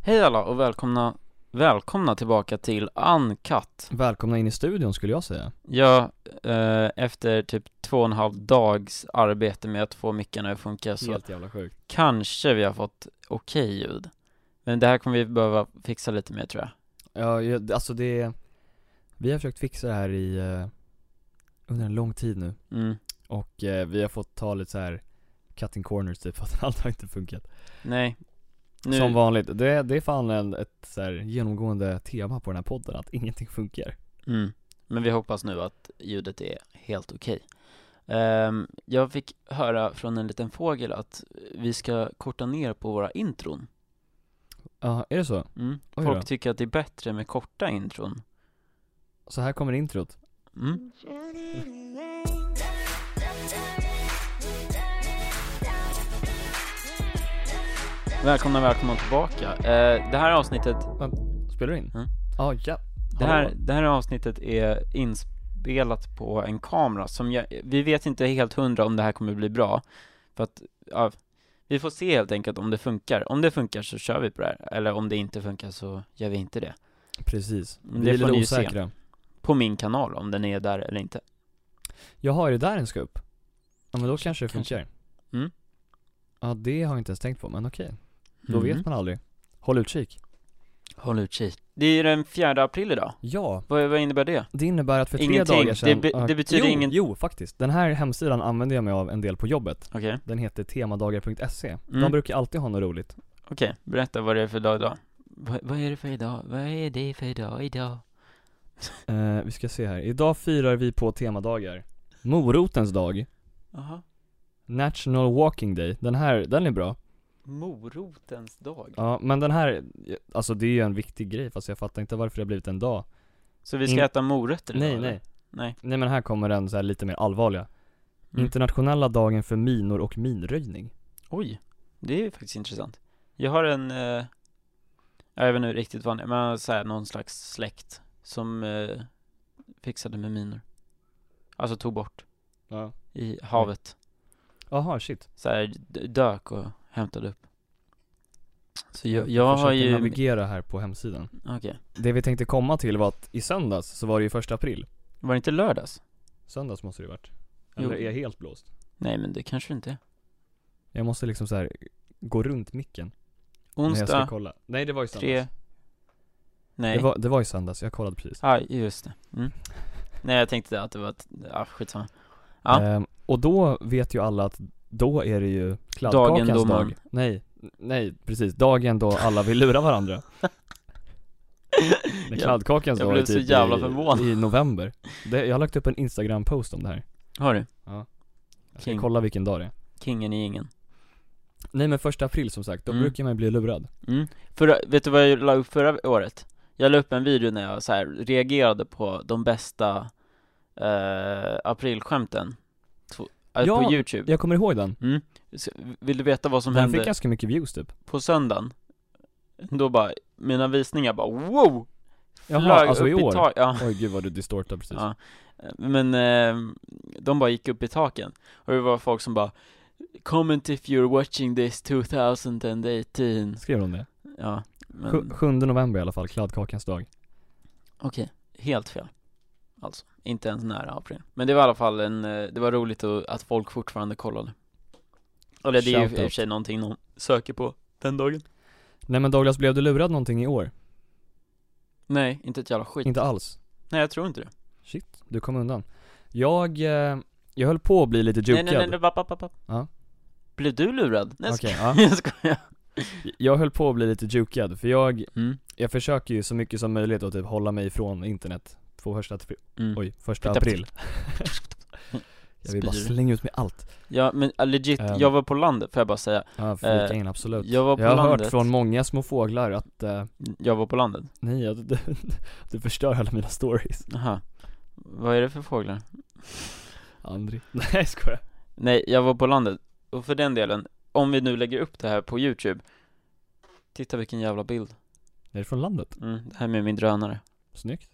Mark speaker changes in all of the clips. Speaker 1: Hej alla och välkomna, välkomna tillbaka till Uncut
Speaker 2: Välkomna in i studion skulle jag säga.
Speaker 1: Ja, eh, efter typ två och en halv dags arbete med att få mickarna att funka så
Speaker 2: jävla sjukt.
Speaker 1: kanske vi har fått okej ljud Men det här kommer vi behöva fixa lite mer tror jag
Speaker 2: Ja, jag- alltså det, vi har försökt fixa det här i, eh, under en lång tid nu.
Speaker 1: mm.
Speaker 2: Och eh, vi har fått ta lite så här cutting corners typ, för att allt har inte funkat.
Speaker 1: Nej nu,
Speaker 2: Som vanligt, det, det är fan en, ett så här genomgående tema på den här podden, att ingenting funkar.
Speaker 1: mm. Men vi hoppas nu att ljudet är helt okej Ehm, Jag fick höra från en liten fågel att vi ska korta ner på våra intron
Speaker 2: Ja, är det så?
Speaker 1: mm.
Speaker 2: Oj
Speaker 1: Folk
Speaker 2: då.
Speaker 1: tycker att det är bättre med korta intron
Speaker 2: Så här kommer introt.
Speaker 1: mm. Välkomna, välkomna tillbaka. Eh, det här avsnittet,
Speaker 2: Spelar du in?
Speaker 1: Mm.
Speaker 2: Ja, ja.
Speaker 1: det här,
Speaker 2: Hallå.
Speaker 1: det här avsnittet är inspelat på en kamera som jag, vi vet inte helt hundra om det här kommer bli bra. För att, ja, vi får se helt enkelt om det funkar. Om det funkar så kör vi på det här, eller om det inte funkar så gör vi inte det.
Speaker 2: Precis.
Speaker 1: Det
Speaker 2: Mm, Vi är
Speaker 1: får
Speaker 2: lite
Speaker 1: ni ju se.
Speaker 2: osäkra.
Speaker 1: På min kanal, om den är där eller inte.
Speaker 2: Jaha, är det där en ska upp? Ja men då kanske det
Speaker 1: Kanske.
Speaker 2: funkar.
Speaker 1: Mm.
Speaker 2: Ja det har jag inte ens tänkt på, men okej. Då
Speaker 1: Mm.
Speaker 2: vet man aldrig. Håll utkik.
Speaker 1: Håll utkik. Det är den fjärde april idag.
Speaker 2: Ja,
Speaker 1: Vad, vad innebär det?
Speaker 2: det innebär att för tre
Speaker 1: Ingenting.
Speaker 2: dagar sedan
Speaker 1: Det be-
Speaker 2: Ja,
Speaker 1: det betyder
Speaker 2: jo,
Speaker 1: ingen-
Speaker 2: Jo, faktiskt. Den här hemsidan använder jag mig av en del på jobbet.
Speaker 1: Okej,
Speaker 2: Den heter temadagar.se.
Speaker 1: Mm.
Speaker 2: De brukar alltid ha något roligt.
Speaker 1: okej. Berätta vad det är för dag idag. Va, vad är det för idag? Vad är det för dag idag?
Speaker 2: Eh, vi ska se här. Idag firar vi på temadagar. Morotens dag.
Speaker 1: Aha.
Speaker 2: National Walking Day. Den här, den är bra.
Speaker 1: Morotens dag.
Speaker 2: Ja, men den här, alltså det är ju en viktig grej fast jag fattar inte varför det har blivit en dag.
Speaker 1: Så vi ska
Speaker 2: In-
Speaker 1: äta morötter idag,
Speaker 2: Nej,
Speaker 1: eller?
Speaker 2: nej.
Speaker 1: Nej.
Speaker 2: Nej men här kommer den så här lite mer allvarliga.
Speaker 1: Mm.
Speaker 2: Internationella dagen för minor och minröjning.
Speaker 1: Oj, det är ju faktiskt intressant. Jag har en, eh, jag vet inte riktigt vad han är, men så här, någon slags släkt som eh, fixade med minor. Alltså tog bort
Speaker 2: Ja.
Speaker 1: i havet.
Speaker 2: Jaha, shit.
Speaker 1: Så här, d- dök och hämtade upp. Så jag, jag har
Speaker 2: försöker
Speaker 1: ju, okej.
Speaker 2: navigera här på hemsidan. Det vi tänkte komma till var att i söndags så var det ju första april.
Speaker 1: Var det inte lördags?
Speaker 2: Söndags måste det ju varit.
Speaker 1: Jo.
Speaker 2: Eller är jag helt blåst?
Speaker 1: Nej men det kanske det inte är.
Speaker 2: Jag måste liksom så här gå runt micken när jag ska
Speaker 1: Onsdag,
Speaker 2: kolla. Nej det var ju söndags.
Speaker 1: tre, nej.
Speaker 2: Det var, det var ju söndags, jag kollade precis.
Speaker 1: Ja, just det. Mm. Nej, jag tänkte att det var ett, ja, skitsamma. Ja.
Speaker 2: Ehm, och då vet ju alla att då är det ju kladdkakans
Speaker 1: Dagen då man-
Speaker 2: dag. Nej, nej precis. Dagen då alla vill lura varandra.
Speaker 1: Ja.
Speaker 2: När kladdkakans
Speaker 1: jag
Speaker 2: dag
Speaker 1: blev
Speaker 2: är
Speaker 1: så
Speaker 2: typ
Speaker 1: jävla förvånad.
Speaker 2: i, i november. Det, jag har lagt upp en instagram-post om det här.
Speaker 1: Har du?
Speaker 2: Jag ska
Speaker 1: King.
Speaker 2: kolla vilken dag det är.
Speaker 1: Kingen i ingen.
Speaker 2: Nej men första april som sagt, då
Speaker 1: Mm.
Speaker 2: brukar man ju bli lurad.
Speaker 1: Mm. Förra, vet du vad jag la upp förra året? Jag la upp en video när jag så här reagerade på de bästa eh, aprilskämten Tw- eh,
Speaker 2: Ja,
Speaker 1: på youtube.
Speaker 2: Jag kommer ihåg den.
Speaker 1: Så, Vill du veta vad som
Speaker 2: Den
Speaker 1: hände
Speaker 2: fick ganska mycket views typ.
Speaker 1: på söndagen? Då bara, mina visningar bara wow!
Speaker 2: Jaha,
Speaker 1: Flög
Speaker 2: alltså
Speaker 1: upp
Speaker 2: i år?
Speaker 1: tak- ja.
Speaker 2: Oj gud vad du distortar precis.
Speaker 1: Ja. Men eh, de bara gick upp i taken och det var folk som bara Comment if you're watching this 2018
Speaker 2: Skrev de det?
Speaker 1: Ja, men
Speaker 2: Sju- 7 november i alla fall, kladdkakans dag.
Speaker 1: okej, helt fel Alltså, inte ens nära april Men det var i alla fall en, eh, det var roligt att, att folk fortfarande kollade Eller det är ju i och
Speaker 2: Shoutout.
Speaker 1: för sig någonting någon söker på den dagen
Speaker 2: Nej men Douglas, blev du lurad någonting i år?
Speaker 1: Nej, inte ett jävla skit
Speaker 2: Inte alls.
Speaker 1: Nej jag tror inte det
Speaker 2: Shit, du kom undan. Jag, eh, jag höll på att bli lite jukad.
Speaker 1: Nej nej nej, nej, vapp, vapp, vapp, vapp.
Speaker 2: Ja.
Speaker 1: Blev du lurad? Nej
Speaker 2: Okej,
Speaker 1: jag skojar,
Speaker 2: ja.
Speaker 1: jag skojar
Speaker 2: Jag höll på att bli lite jukad, för jag,
Speaker 1: mm.
Speaker 2: jag försöker ju så mycket som möjligt att typ hålla mig ifrån internet på första, apri-
Speaker 1: Mm.
Speaker 2: oj, första
Speaker 1: Titta.
Speaker 2: april Jag vill bara
Speaker 1: Spyr.
Speaker 2: slänga ut med allt
Speaker 1: Ja men eh, legit,
Speaker 2: Ehm.
Speaker 1: jag var på landet får jag bara säga
Speaker 2: Ja, flika
Speaker 1: Eh,
Speaker 2: in absolut
Speaker 1: jag var på
Speaker 2: har
Speaker 1: landet.
Speaker 2: hört från många små fåglar att, eh,
Speaker 1: Jag var på landet
Speaker 2: nej, jag, du, du förstör alla mina stories
Speaker 1: Aha. Vad är det för fåglar?
Speaker 2: Andri Nej jag skojar
Speaker 1: Nej, jag var på landet. Och för den delen, om vi nu lägger upp det här på youtube Titta vilken jävla bild.
Speaker 2: Är det från landet?
Speaker 1: Mm, det här med min drönare.
Speaker 2: Snyggt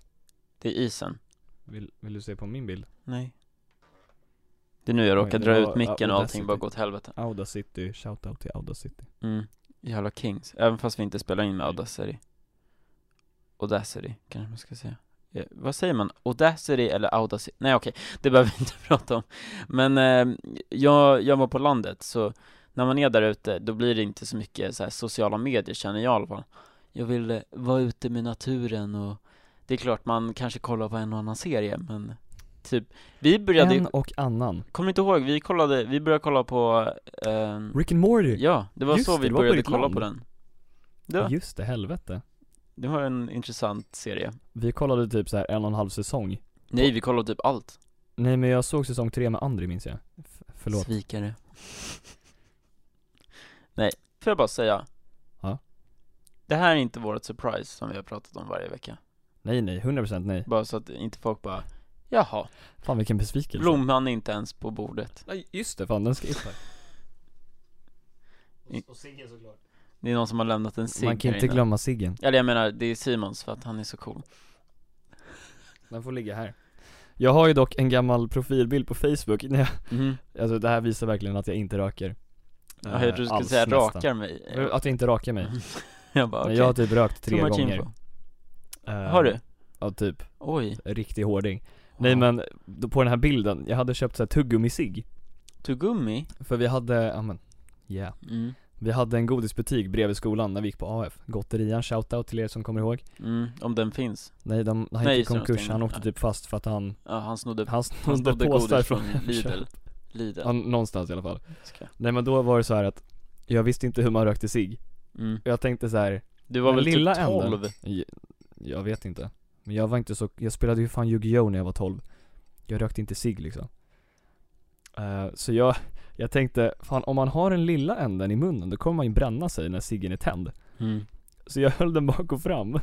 Speaker 1: Det är isen.
Speaker 2: Vill, vill du se på min bild?
Speaker 1: Nej. Det är nu jag
Speaker 2: Oj,
Speaker 1: råkar
Speaker 2: det
Speaker 1: dra
Speaker 2: var
Speaker 1: ut micken och allting
Speaker 2: Audacity.
Speaker 1: bara går åt helvete.
Speaker 2: Audacity, shoutout till Audacity
Speaker 1: Mm. Jävla kings, även fast vi inte spelar in med Audacity Audacity, kanske man ska säga Eh, Vad säger man? Audacity eller Audacity? Nej okej, det behöver vi inte prata om Men eh, jag, jag var på landet, så när man är där ute, då blir det inte så mycket så här, sociala medier känner jag i alla fall Jag vill eh, vara ute med naturen och det är klart man kanske kollar på en och annan serie, men typ Vi började ju,
Speaker 2: En och annan.
Speaker 1: kommer inte ihåg, vi kollade, vi började kolla på ehm,
Speaker 2: Rick and Morty!
Speaker 1: Ja, det var
Speaker 2: Just
Speaker 1: så
Speaker 2: det,
Speaker 1: vi
Speaker 2: det var på
Speaker 1: började
Speaker 2: ditt
Speaker 1: kolla
Speaker 2: land.
Speaker 1: på den det var,
Speaker 2: Just det, helvete.
Speaker 1: det var en intressant serie
Speaker 2: Vi kollade typ så här en och en halv säsong.
Speaker 1: Nej, vi kollade typ allt
Speaker 2: Nej men jag såg säsong tre med Andri minns jag. F- förlåt.
Speaker 1: Svikare Nej, får jag bara säga
Speaker 2: Ja.
Speaker 1: Det här är inte vårt surprise som vi har pratat om varje vecka
Speaker 2: Nej nej, 100% nej.
Speaker 1: Bara så att inte folk bara Jaha,
Speaker 2: Fan vilken besvikelse.
Speaker 1: blomman är inte ens på bordet
Speaker 2: Nej just det, fan den ska
Speaker 1: Och-
Speaker 2: ciggen såklart.
Speaker 1: Det är någon som har lämnat en cigg
Speaker 2: Man kan
Speaker 1: här
Speaker 2: inte
Speaker 1: inne.
Speaker 2: glömma ciggen.
Speaker 1: Eller jag menar, det är Simons för att han är så cool
Speaker 2: Den får ligga här. Jag har ju dock en gammal profilbild på Facebook, när jag,
Speaker 1: mm.
Speaker 2: alltså det här visar verkligen att jag inte röker.
Speaker 1: Jag trodde
Speaker 2: Eh,
Speaker 1: du skulle
Speaker 2: alls
Speaker 1: säga
Speaker 2: nästan.
Speaker 1: rakar mig
Speaker 2: Att jag inte rakar mig. Men
Speaker 1: Jag bara okej,
Speaker 2: jag har typ rökt
Speaker 1: Too
Speaker 2: tre
Speaker 1: much
Speaker 2: gånger.
Speaker 1: info.
Speaker 2: Eh,
Speaker 1: Har du?
Speaker 2: Ja typ,
Speaker 1: Oj
Speaker 2: riktig hårding. Nej men, då på den här bilden, jag hade köpt såhär tuggummi-cigg
Speaker 1: Tuggummi?
Speaker 2: För vi hade, ja men, yeah.
Speaker 1: Mm.
Speaker 2: Vi hade en godisbutik bredvid skolan när vi gick på AF, Gotterian, shoutout till er som kommer ihåg
Speaker 1: Mm, om den finns.
Speaker 2: Nej de, han
Speaker 1: Nej, just
Speaker 2: gick i
Speaker 1: det, de
Speaker 2: konkurs,
Speaker 1: stängde.
Speaker 2: han åkte
Speaker 1: Ja.
Speaker 2: typ fast för att han,
Speaker 1: Ja, han snodde,
Speaker 2: han
Speaker 1: han
Speaker 2: snodde
Speaker 1: snodde
Speaker 2: påsar
Speaker 1: godis från
Speaker 2: från Hemköp
Speaker 1: Lidl. Lidl.
Speaker 2: Ja, Någonstans i alla fall
Speaker 1: Ska-
Speaker 2: Nej men då var det så här att, jag visste inte hur man rökte sig.
Speaker 1: Mm.
Speaker 2: Jag tänkte så här,
Speaker 1: Du var
Speaker 2: Den
Speaker 1: väl
Speaker 2: lilla
Speaker 1: typ 12?
Speaker 2: änden. j- jag vet inte Men jag var inte så, jag spelade ju fan Yu-Gi-Oh när jag var 12 Jag rökte inte sig liksom Eh, Så jag, jag tänkte, fan om man har den lilla änden i munnen då kommer man ju bränna sig när ciggen är tänd
Speaker 1: Mm.
Speaker 2: Så jag höll den bak och fram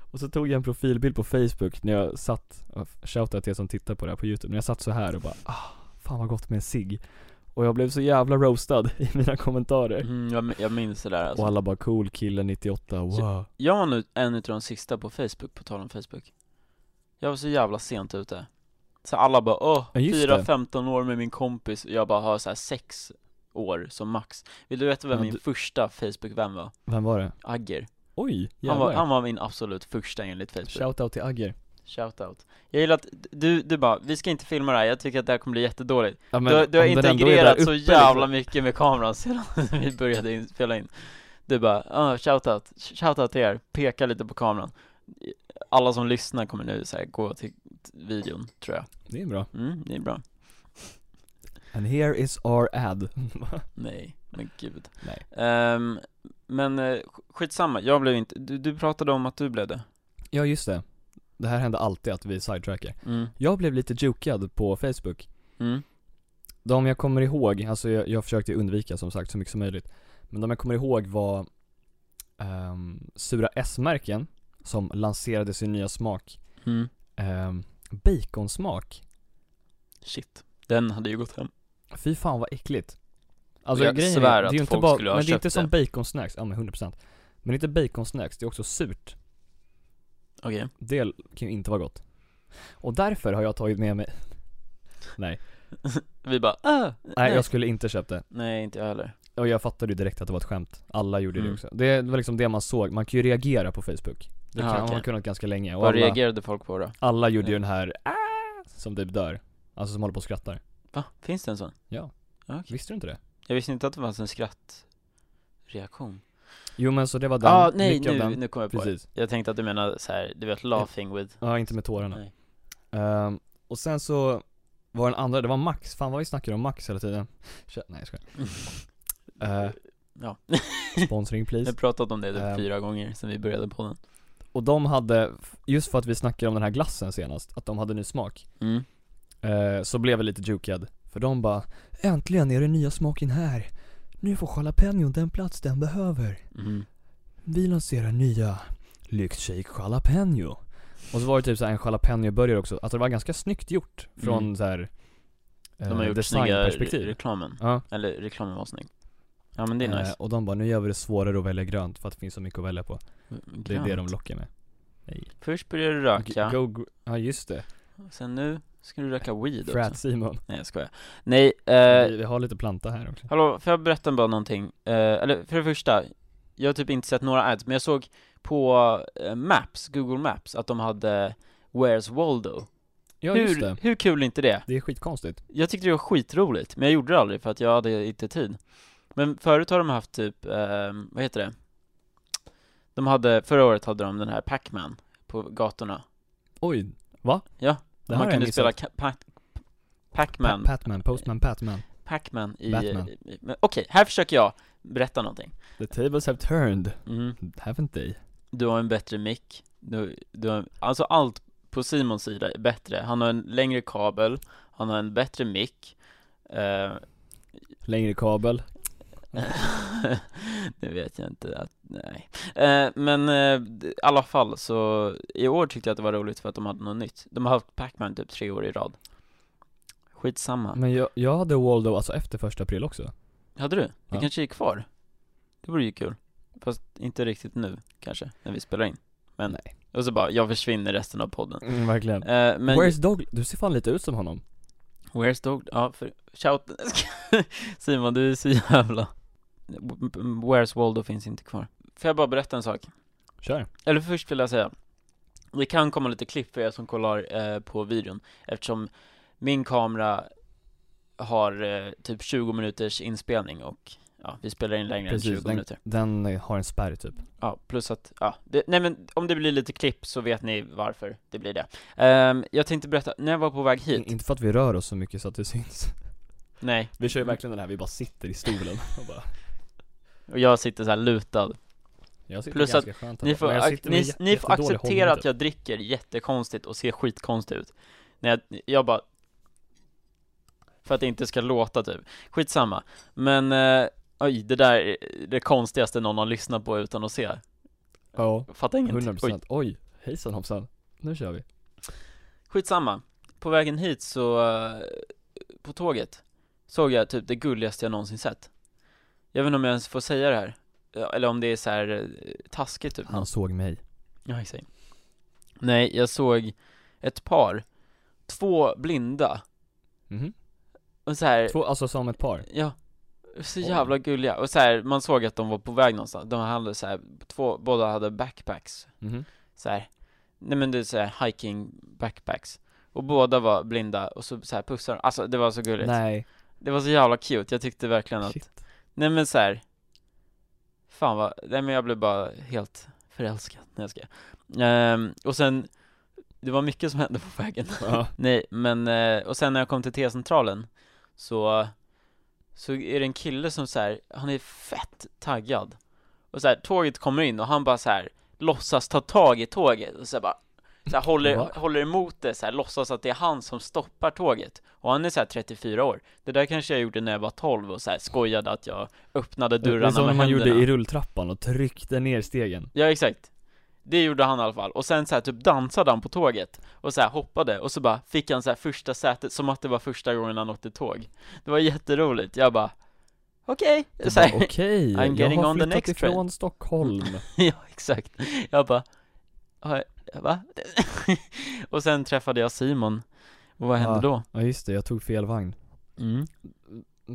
Speaker 2: Och så tog jag en profilbild på Facebook när jag satt, shoutout till er som tittar på det här på youtube, när jag satt så här och bara ah, fan vad gott med en cigg Och jag blev så jävla roastad i mina kommentarer
Speaker 1: Mm, jag, mi- jag minns det där
Speaker 2: Och
Speaker 1: alltså.
Speaker 2: alla bara cool kille 98, wow
Speaker 1: Jag var nu en utav de sista på Facebook, på tal om Facebook. Jag var så jävla sent ute. Så alla bara åh,
Speaker 2: Ja, just det.
Speaker 1: 4-15 år med min kompis, och jag bara har så här 6 år som max. Vill du veta vem
Speaker 2: Ja,
Speaker 1: min
Speaker 2: du-
Speaker 1: första Facebook-vän var?
Speaker 2: Vem var det?
Speaker 1: Agger.
Speaker 2: Oj,
Speaker 1: Han var,
Speaker 2: jävlar
Speaker 1: han var min absolut första enligt Facebook.
Speaker 2: Shoutout till Agger
Speaker 1: Shoutout. Jag gillar att du, du bara, vi ska inte filma det här, jag tycker att det här kommer bli jättedåligt.
Speaker 2: ja, men
Speaker 1: du, du har
Speaker 2: om den ändå är där
Speaker 1: integrerat så
Speaker 2: uppe,
Speaker 1: jävla
Speaker 2: liksom.
Speaker 1: mycket med kameran sedan vi började in, spela in Du bara, ah, shoutout, shoutout till er, peka lite på kameran Alla som lyssnar kommer nu så här, gå till t- videon, tror jag
Speaker 2: Det är bra
Speaker 1: Mm, det är bra
Speaker 2: And here is our ad
Speaker 1: Nej, men gud
Speaker 2: Nej
Speaker 1: Ehm, Men eh, sk- skitsamma, jag blev inte, du, du pratade om att du blev det
Speaker 2: Ja just det Det här händer alltid att vi sidetrackar
Speaker 1: Mm,
Speaker 2: Jag blev lite jukad på Facebook
Speaker 1: mm,
Speaker 2: De jag kommer ihåg, alltså jag, jag försökte undvika som sagt så mycket som möjligt Men de jag kommer ihåg var ehm, Sura S-märken Som lanserade sin nya smak
Speaker 1: mm
Speaker 2: um, Baconsmak
Speaker 1: Shit, den hade ju gått hem
Speaker 2: Fy fan vad äckligt Alltså
Speaker 1: Jag
Speaker 2: grejen
Speaker 1: svär
Speaker 2: är, det
Speaker 1: att
Speaker 2: är ju inte
Speaker 1: folk
Speaker 2: bara,
Speaker 1: skulle ha
Speaker 2: men det är inte
Speaker 1: köpt
Speaker 2: som baconsnacks, ja men 100% Men det är inte baconsnacks, det är också surt
Speaker 1: Okej,
Speaker 2: Det kan ju inte vara gott Och därför har jag tagit med mig
Speaker 1: vi bara, ah,
Speaker 2: Nej jag skulle inte köpt det
Speaker 1: Nej, inte jag heller
Speaker 2: Och jag fattade ju direkt att det var ett skämt Alla gjorde
Speaker 1: Mm.
Speaker 2: det också Det var liksom det man såg, man kan ju reagera på Facebook
Speaker 1: Ja,
Speaker 2: Det kan, har
Speaker 1: okej.
Speaker 2: man kunnat ganska länge och
Speaker 1: Vad
Speaker 2: alla,
Speaker 1: reagerade folk på då?
Speaker 2: alla gjorde ju den här "Ah", som typ dör Alltså som håller på och skrattar
Speaker 1: Va? Finns det en sån?
Speaker 2: Ja.
Speaker 1: Ja, okej.
Speaker 2: Visste du inte det?
Speaker 1: Jag visste inte att det fanns en skrattreaktion
Speaker 2: Jo men så det var
Speaker 1: Ja,
Speaker 2: den,
Speaker 1: ah, nej
Speaker 2: mycket av
Speaker 1: nu,
Speaker 2: den
Speaker 1: nu kom jag på det
Speaker 2: Precis,
Speaker 1: Jag tänkte att du menade så här, du vet laughing with
Speaker 2: ja inte med tårarna
Speaker 1: Nej.
Speaker 2: Ehm, och sen så var den andra, det var Max, fan vad vi snackar om Max hela tiden Kö- Nej jag skojar Eh,
Speaker 1: Ja,
Speaker 2: Sponsring
Speaker 1: vi har
Speaker 2: please
Speaker 1: pratat om det typ
Speaker 2: Ehm.
Speaker 1: fyra gånger sedan vi började på den
Speaker 2: Och de hade, just för att vi snackade om den här glassen senast, att de hade ny smak
Speaker 1: mm.
Speaker 2: eh, Så blev jag lite jukad, för de bara Äntligen är den nya smaken här! Nu får jalapeñon den plats den behöver
Speaker 1: Mm.
Speaker 2: Vi lanserar nya Lyxshake Jalapeno Och så var det typ såhär en jalapeño-burgare också, alltså det var ganska snyggt gjort från
Speaker 1: Mm.
Speaker 2: såhär eh,
Speaker 1: De har gjort snygga re-
Speaker 2: designperspektiv
Speaker 1: reklamen,
Speaker 2: Ja.
Speaker 1: eller reklamen var snygg Ja men det är
Speaker 2: Eh,
Speaker 1: nice
Speaker 2: Och de bara, nu gör vi det svårare att välja grönt för att det finns så mycket att välja på Det är det de
Speaker 1: Grönt.
Speaker 2: lockar med Nej
Speaker 1: Mm, Först började du
Speaker 2: G-
Speaker 1: röka,
Speaker 2: Go, gr- ja just det
Speaker 1: Och sen nu ska du röka weed också
Speaker 2: Frat Simon.
Speaker 1: Nej jag skojar Nej, eh,
Speaker 2: vi, vi har lite planta här också.
Speaker 1: hallå, får jag berätta bara någonting? Eh, eller för det första, jag har typ inte sett några ads, men jag såg på eh, Maps, Google Maps, att de hade Where's Waldo?
Speaker 2: Ja
Speaker 1: hur,
Speaker 2: just det.
Speaker 1: hur kul är inte det?
Speaker 2: Det är skitkonstigt.
Speaker 1: Jag tyckte det var skitroligt, men jag gjorde det aldrig för att jag hade inte tid Men förut har de haft typ, eh, vad heter det? De hade, förra året hade de den här Pac-Man på gatorna
Speaker 2: Oj, va?
Speaker 1: Ja,
Speaker 2: det
Speaker 1: Man
Speaker 2: har jag
Speaker 1: kunde
Speaker 2: missat.
Speaker 1: spela ka- Pac- Pac-Man,
Speaker 2: Pa- Patman, Postman, Patman.
Speaker 1: Pac-Man i...
Speaker 2: Batman.
Speaker 1: i- men Okej, här försöker jag berätta någonting
Speaker 2: The tables have turned,
Speaker 1: mm.
Speaker 2: haven't they?
Speaker 1: Du har en bättre mick, du, du har, alltså allt på Simons sida är bättre Han har en längre kabel, han har en bättre mick eh,
Speaker 2: Längre kabel.
Speaker 1: nu vet jag inte att, nej. Eh, men eh, d- i alla fall så, i år tyckte jag att det var roligt för att de hade något nytt. De har haft Pac-Man typ tre år i rad. Skitsamma.
Speaker 2: Men jag, jag hade Waldo alltså efter första april också.
Speaker 1: Hade du? Det
Speaker 2: Ja.
Speaker 1: kanske är kvar? Det vore ju kul. Fast inte riktigt nu kanske, när vi spelar in. Men,
Speaker 2: Nej.
Speaker 1: och så bara, jag försvinner resten av podden.
Speaker 2: Mm, verkligen.
Speaker 1: Eh, men,
Speaker 2: Where's Dog? Du ser fan lite ut som honom.
Speaker 1: where's dog? Ja, för, shout, Simon du är så jävla Where's Waldo finns inte kvar. Får jag bara berätta en sak?
Speaker 2: Kör.
Speaker 1: Eller först vill jag säga Det kan komma lite klipp för er som kollar eh, på videon Eftersom min kamera har eh, typ 20 minuters inspelning och ja, vi spelar in längre än
Speaker 2: Precis,
Speaker 1: 20
Speaker 2: den,
Speaker 1: minuter
Speaker 2: den eh, har en spärr typ.
Speaker 1: Ja, plus att, ja, det, nej men om det blir lite klipp så vet ni varför det blir det Ehm, Jag tänkte berätta, när jag var på väg hit,
Speaker 2: In, inte för att vi rör oss så mycket så att det syns.
Speaker 1: nej,
Speaker 2: Vi kör ju verkligen den här, vi bara sitter i stolen och bara
Speaker 1: och jag sitter så här lutad
Speaker 2: jag sitter
Speaker 1: Plus
Speaker 2: ganska skönt här
Speaker 1: Ni
Speaker 2: bara.
Speaker 1: får,
Speaker 2: Men jag
Speaker 1: ac-
Speaker 2: sitter
Speaker 1: ni,
Speaker 2: med jä-
Speaker 1: ni får
Speaker 2: jättedålig
Speaker 1: acceptera
Speaker 2: hållning, typ.
Speaker 1: att jag dricker jättekonstigt och ser skitkonstig ut När jag, jag bara För att det inte ska låta typ Skitsamma Men, eh, oj, det där är det konstigaste någon har lyssnat på utan att se
Speaker 2: typ. Ja,
Speaker 1: Fattar ingenting
Speaker 2: 100%
Speaker 1: Oj,
Speaker 2: Oj, Oj. hejsan hoppsan. Nu kör vi.
Speaker 1: skitsamma På vägen hit så, eh, på tåget Såg jag typ det gulligaste jag någonsin sett Jag vet inte om jag ens får säga det här Ja, Eller om det är så här eh, taskigt typ
Speaker 2: Han såg mig.
Speaker 1: Ja, exakt. Nej, jag såg ett par, två blinda,
Speaker 2: Mhm.
Speaker 1: och så här,
Speaker 2: Två, alltså som ett par.
Speaker 1: ja, så
Speaker 2: Oj.
Speaker 1: jävla gulliga, och så här, man såg att de var på väg någonstans, de hade så här, två, båda hade backpacks,
Speaker 2: Mhm.
Speaker 1: så här. nej men det är så här hiking backpacks, och båda var blinda, och så, så här pussar de. alltså det var så gulligt
Speaker 2: Nej.
Speaker 1: Det var så jävla cute, jag tyckte verkligen att,
Speaker 2: Shit.
Speaker 1: nej men så här. Fan vad, nej men jag blev bara helt förälskad, när jag ska ehm, Och sen, det var mycket som hände på vägen
Speaker 2: Ja.
Speaker 1: Nej, men, eh, och sen när jag kom till T-centralen så, så är det en kille som så här, han är fett taggad Och så här, tåget kommer in och han bara så här låtsas ta tag i tåget och så här bara så här, håller,
Speaker 2: Va?
Speaker 1: håller emot det så här, låtsas att det är han som stoppar tåget Och han är så här 34 år Det där kanske jag gjorde när jag var 12 och så här skojade att jag öppnade
Speaker 2: Det är
Speaker 1: dörrarna
Speaker 2: som
Speaker 1: med
Speaker 2: när man
Speaker 1: händerna
Speaker 2: gjorde i rulltrappan och tryckte ner stegen.
Speaker 1: Ja exakt Det gjorde han i alla fall, och sen så här typ dansade han på tåget Och så här hoppade, och så bara fick han så här första sätet som att det var första gången han åkte tåg Det var jätteroligt, jag bara Okej,
Speaker 2: Jag
Speaker 1: så här,
Speaker 2: bara, Okej,
Speaker 1: I'm
Speaker 2: jag
Speaker 1: getting
Speaker 2: har
Speaker 1: on the
Speaker 2: flyttat
Speaker 1: next
Speaker 2: ifrån
Speaker 1: train.
Speaker 2: Stockholm.
Speaker 1: ja exakt Jag bara "Ja, Va? och sen träffade jag Simon Och vad hände
Speaker 2: Ja.
Speaker 1: då?
Speaker 2: Ja just det, jag tog fel vagn.
Speaker 1: Mm.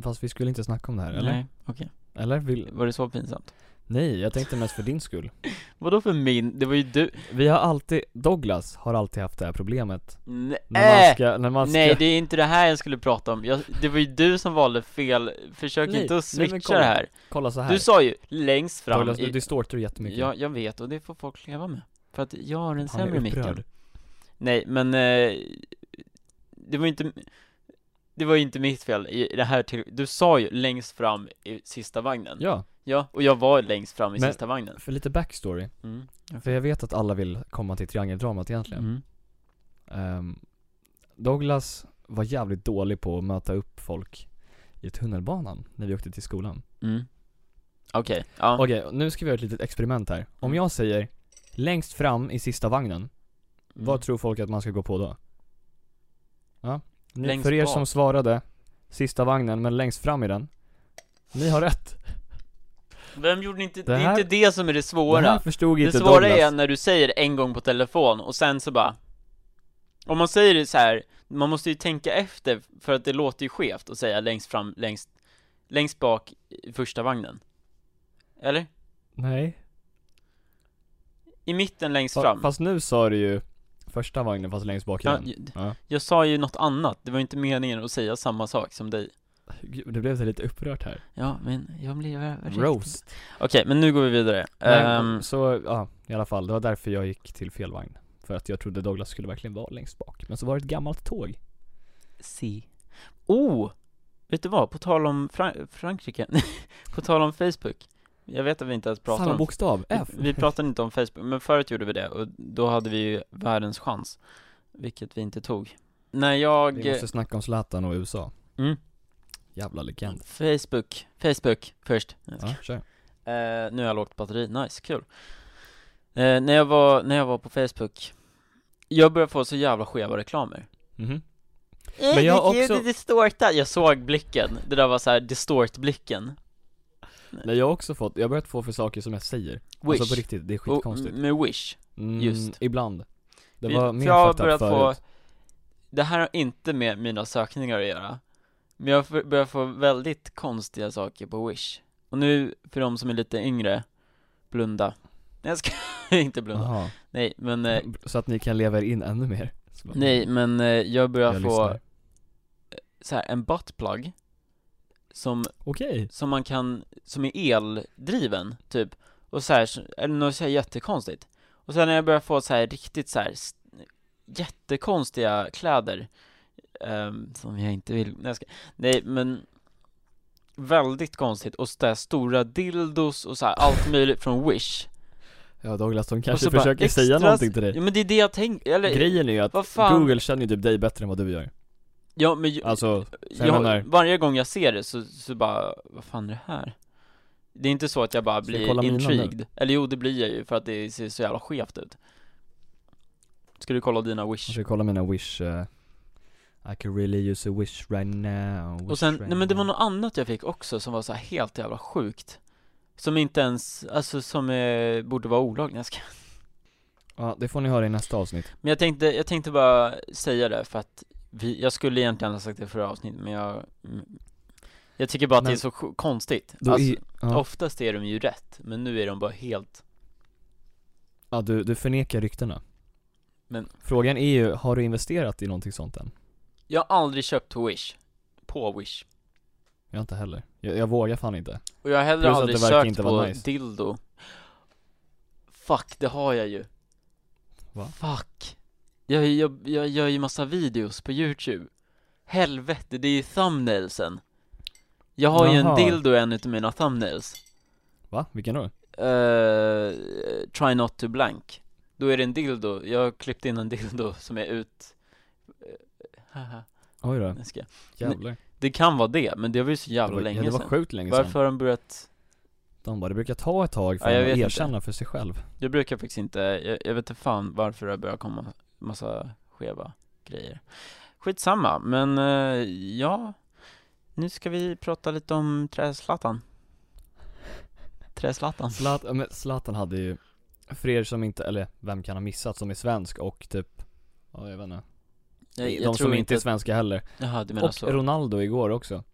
Speaker 2: Fast vi skulle inte snacka om det här, eller?
Speaker 1: Nej, okej
Speaker 2: Eller? Vill...
Speaker 1: Var det så pinsamt?
Speaker 2: Nej, jag tänkte mest för din skull.
Speaker 1: Vadå för min? Det var ju du
Speaker 2: Vi har alltid, Douglas har alltid haft det här problemet.
Speaker 1: Nej!
Speaker 2: När man ska, när man ska
Speaker 1: Äh! Nej det är inte det här jag skulle prata om, jag, det var ju du som valde fel, försök
Speaker 2: Nej,
Speaker 1: inte att
Speaker 2: nej, men
Speaker 1: switcha
Speaker 2: kolla.
Speaker 1: det här
Speaker 2: kolla så här.
Speaker 1: Du sa ju längst fram
Speaker 2: Douglas, alltså, du
Speaker 1: i,
Speaker 2: distortar jättemycket.
Speaker 1: ja, jag vet och det får folk leva med För att jag har en
Speaker 2: Han är
Speaker 1: sämre micken
Speaker 2: upprörd.
Speaker 1: Nej men eh, Det var ju inte Det var ju inte mitt fel i det här till, Du sa ju längst fram i sista vagnen Ja,
Speaker 2: Ja,
Speaker 1: och jag var längst fram i
Speaker 2: Men-
Speaker 1: sista vagnen
Speaker 2: för lite backstory.
Speaker 1: mm.
Speaker 2: För jag vet att alla vill komma till triangeldramat egentligen.
Speaker 1: Mm.
Speaker 2: Ehm, Douglas var jävligt dålig på att möta upp folk i tunnelbanan när vi åkte till skolan.
Speaker 1: Mm. Okej, ja Mm.
Speaker 2: Okej, nu ska vi göra ett litet experiment här. Om jag säger längst fram i sista vagnen,
Speaker 1: Mm.
Speaker 2: vad tror folk att man ska gå på då? Ja, ni,
Speaker 1: Längst
Speaker 2: för er
Speaker 1: bak.
Speaker 2: som svarade, sista vagnen men längst fram i den. Ni har rätt.
Speaker 1: Vem gjorde inte, det,
Speaker 2: Det här-
Speaker 1: är inte det som är det
Speaker 2: Det här
Speaker 1: svåra
Speaker 2: förstod
Speaker 1: Det
Speaker 2: inte
Speaker 1: svåra
Speaker 2: Douglas.
Speaker 1: är när du säger en gång på telefon och sen så bara Om man säger det så här, man måste ju tänka efter för att det låter ju skevt att säga längst fram, längst, längst bak i första vagnen. Eller?
Speaker 2: Nej.
Speaker 1: I mitten längst
Speaker 2: Fa-
Speaker 1: fram.
Speaker 2: Fast nu sa du ju första vagnen fast längst bak
Speaker 1: Ja,
Speaker 2: igen.
Speaker 1: jag,
Speaker 2: Ja.
Speaker 1: jag sa ju något annat, det var ju inte meningen att säga samma sak som dig.
Speaker 2: Gud, det blev så lite upprört här.
Speaker 1: Ja, men jag blev riktigt-
Speaker 2: Roast.
Speaker 1: Okej, men nu går vi vidare.
Speaker 2: Nej,
Speaker 1: Ehm,
Speaker 2: så, ja, i alla fall. Det var därför jag gick till fel vagn. För att jag trodde Douglas skulle verkligen vara längst bak. Men så var det ett gammalt tåg.
Speaker 1: Si. Oh! Vet du vad? På tal om Fra- Frankrike, på tal om Facebook. Jag vet att vi inte ens pratar
Speaker 2: Samma
Speaker 1: om
Speaker 2: bokstav, F.
Speaker 1: Vi pratade inte om Facebook, men förut gjorde vi det och då hade vi ju världens chans. Vilket vi inte tog. När jag...
Speaker 2: Vi måste snacka om Zlatan och USA.
Speaker 1: Mm.
Speaker 2: Jävla legend.
Speaker 1: Facebook, Facebook först.
Speaker 2: Ja, kör.
Speaker 1: Eh, nu har jag lågt batteri, nice, kul eh, när, jag var, när jag var på Facebook Jag började få så jävla skeva reklamer
Speaker 2: Mhm. Men jag har också-
Speaker 1: distorta. Jag såg blicken, det där var såhär distort-blicken
Speaker 2: Alltså Nej jag har också fått, jag har börjat få för saker som jag säger.
Speaker 1: Wish,
Speaker 2: Alltså på riktigt, det är
Speaker 1: Och-
Speaker 2: skitkonstigt.
Speaker 1: med Wish
Speaker 2: Mm,
Speaker 1: just.
Speaker 2: Ibland. Det
Speaker 1: Vi-
Speaker 2: var
Speaker 1: för
Speaker 2: mer
Speaker 1: jag har
Speaker 2: fucked up
Speaker 1: börjat få-
Speaker 2: förut.
Speaker 1: Det här har inte med mina sökningar att göra Men jag för- börjar få väldigt konstiga saker på Wish Och nu, för de som är lite yngre, blunda Nej jag ska inte blunda,
Speaker 2: Jaha.
Speaker 1: nej men eh,
Speaker 2: Så att ni kan leva er in ännu mer. Så bara,
Speaker 1: Nej men eh, jag börjar
Speaker 2: jag
Speaker 1: få
Speaker 2: lyssnar.
Speaker 1: så här, en buttplug som,
Speaker 2: Okej.
Speaker 1: som man kan, som är eldriven typ och så här, så- eller något så här jättekonstigt och sen när jag börjar få så här riktigt så här s- jättekonstiga kläder ehm, som jag inte vill, nej, jag ska, nej men väldigt konstigt och så där stora dildos och så här allt möjligt från Wish
Speaker 2: Ja Douglas, de
Speaker 1: Och
Speaker 2: kanske
Speaker 1: så bara,
Speaker 2: försöker säga
Speaker 1: extras-
Speaker 2: någonting till dig.
Speaker 1: Ja men det är det jag tänker, eller
Speaker 2: Grejen är ju att
Speaker 1: vad fan?
Speaker 2: Google känner ju typ dig bättre än vad du gör.
Speaker 1: ja men ju-
Speaker 2: Alltså, Så jag
Speaker 1: jag,
Speaker 2: menar-
Speaker 1: varje gång jag ser det så, så bara, vad fan är det här? Det är inte så att jag bara
Speaker 2: Ska jag kolla
Speaker 1: blir
Speaker 2: mina nu?
Speaker 1: intrigued, eller jo det blir jag ju för att det ser så jävla skevt ut Ska du kolla dina
Speaker 2: jag
Speaker 1: wish?
Speaker 2: ska kolla mina wish, eh, I can really use a wish right now. Wish
Speaker 1: Och sen,
Speaker 2: right
Speaker 1: nej men det var
Speaker 2: now.
Speaker 1: något annat jag fick också som var så här helt jävla sjukt Som inte ens, alltså som eh, borde vara olagligt, Nej, jag ska-
Speaker 2: Ja, det får ni höra i nästa avsnitt.
Speaker 1: Men jag tänkte, jag tänkte bara säga det för att vi, jag skulle egentligen ha sagt det i förra avsnittet men jag mm, Jag tycker bara att
Speaker 2: Men-
Speaker 1: det är så sj- konstigt,
Speaker 2: Då
Speaker 1: alltså,
Speaker 2: är, ja,
Speaker 1: oftast är de ju rätt, men nu är de bara helt
Speaker 2: ja du, du förnekar ryktena.
Speaker 1: Men-
Speaker 2: Frågan är ju, har du investerat i någonting sånt än?
Speaker 1: Jag har aldrig köpt på Wish, på Wish
Speaker 2: Jag har inte heller. Jag, jag vågar fan inte.
Speaker 1: Och jag har heller
Speaker 2: Plus att
Speaker 1: aldrig
Speaker 2: det verkar
Speaker 1: sökt
Speaker 2: inte
Speaker 1: på
Speaker 2: vara nice.
Speaker 1: dildo Fuck, det har jag ju
Speaker 2: Va?
Speaker 1: Fuck jag, jag, jag gör ju massa videos på youtube Helvete, det är ju thumbnailsen Jag har ju en
Speaker 2: Jaha.
Speaker 1: dildo i en utav mina thumbnails
Speaker 2: Va? Vilken då?
Speaker 1: Eh, Try not to blank Då är det en dildo, jag har klippt in en dildo som är ut eh, Haha,
Speaker 2: Oj då,
Speaker 1: nu ska jag
Speaker 2: jävlar.
Speaker 1: Det kan vara det, men det var ju så
Speaker 2: det
Speaker 1: jävla
Speaker 2: var,
Speaker 1: länge
Speaker 2: ja, det var
Speaker 1: sedan.
Speaker 2: sjukt länge
Speaker 1: Varför
Speaker 2: sedan.
Speaker 1: har de börjat
Speaker 2: De bara, det brukar ta ett tag för
Speaker 1: Ja, jag
Speaker 2: att
Speaker 1: vet inte.
Speaker 2: erkänna för sig själv.
Speaker 1: Jag brukar faktiskt inte, jag, jag vet inte fan varför det börjar komma massa skeva grejer Skitsamma, men eh, ja Nu ska vi prata lite om Träslattan Träslattan
Speaker 2: Zlat, ja, men Zlatan hade ju, för er som inte, eller vem kan ha missat som är svensk och typ, ja jag vet inte.
Speaker 1: jag, jag
Speaker 2: de
Speaker 1: tror
Speaker 2: som inte är
Speaker 1: att-
Speaker 2: svenska heller.
Speaker 1: Jaha, du menar
Speaker 2: Och
Speaker 1: så
Speaker 2: Ronaldo igår också.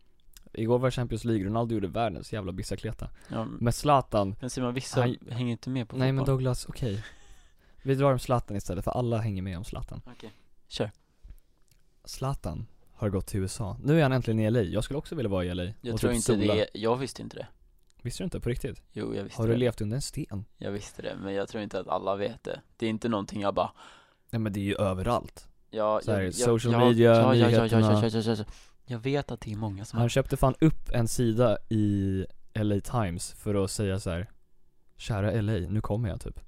Speaker 2: Igår var Champions League, Ronaldo gjorde världens jävla bissakleta.
Speaker 1: ja,
Speaker 2: Men Zlatan,
Speaker 1: Men Simon, vissa
Speaker 2: Han-
Speaker 1: hänger inte med Mm. på
Speaker 2: nej men
Speaker 1: fotboll.
Speaker 2: Douglas, okej. Vi drar om Zlatan istället för alla hänger med om Zlatan.
Speaker 1: Kör,
Speaker 2: Zlatan har gått till USA. Nu är han äntligen i LA, jag skulle också vilja vara i LA.
Speaker 1: jag
Speaker 2: och
Speaker 1: tror
Speaker 2: typ
Speaker 1: inte
Speaker 2: sola.
Speaker 1: det, jag visste inte det
Speaker 2: Visste du inte på riktigt?
Speaker 1: Jo, jag visste
Speaker 2: Har du
Speaker 1: det
Speaker 2: levt under en sten?
Speaker 1: Jag visste det, men jag tror inte att alla vet det Det är inte någonting jag bara
Speaker 2: Nej men det är ju överallt.
Speaker 1: Ja,
Speaker 2: Så här,
Speaker 1: jag,
Speaker 2: social
Speaker 1: jag,
Speaker 2: media,
Speaker 1: ja, ja, ja, ja,
Speaker 2: nyheterna.
Speaker 1: ja, ja, ja, ja. Jag vet att det är många som
Speaker 2: Han köpte fan upp en sida i LA Times för att säga så här. Kära LA, nu kommer jag typ.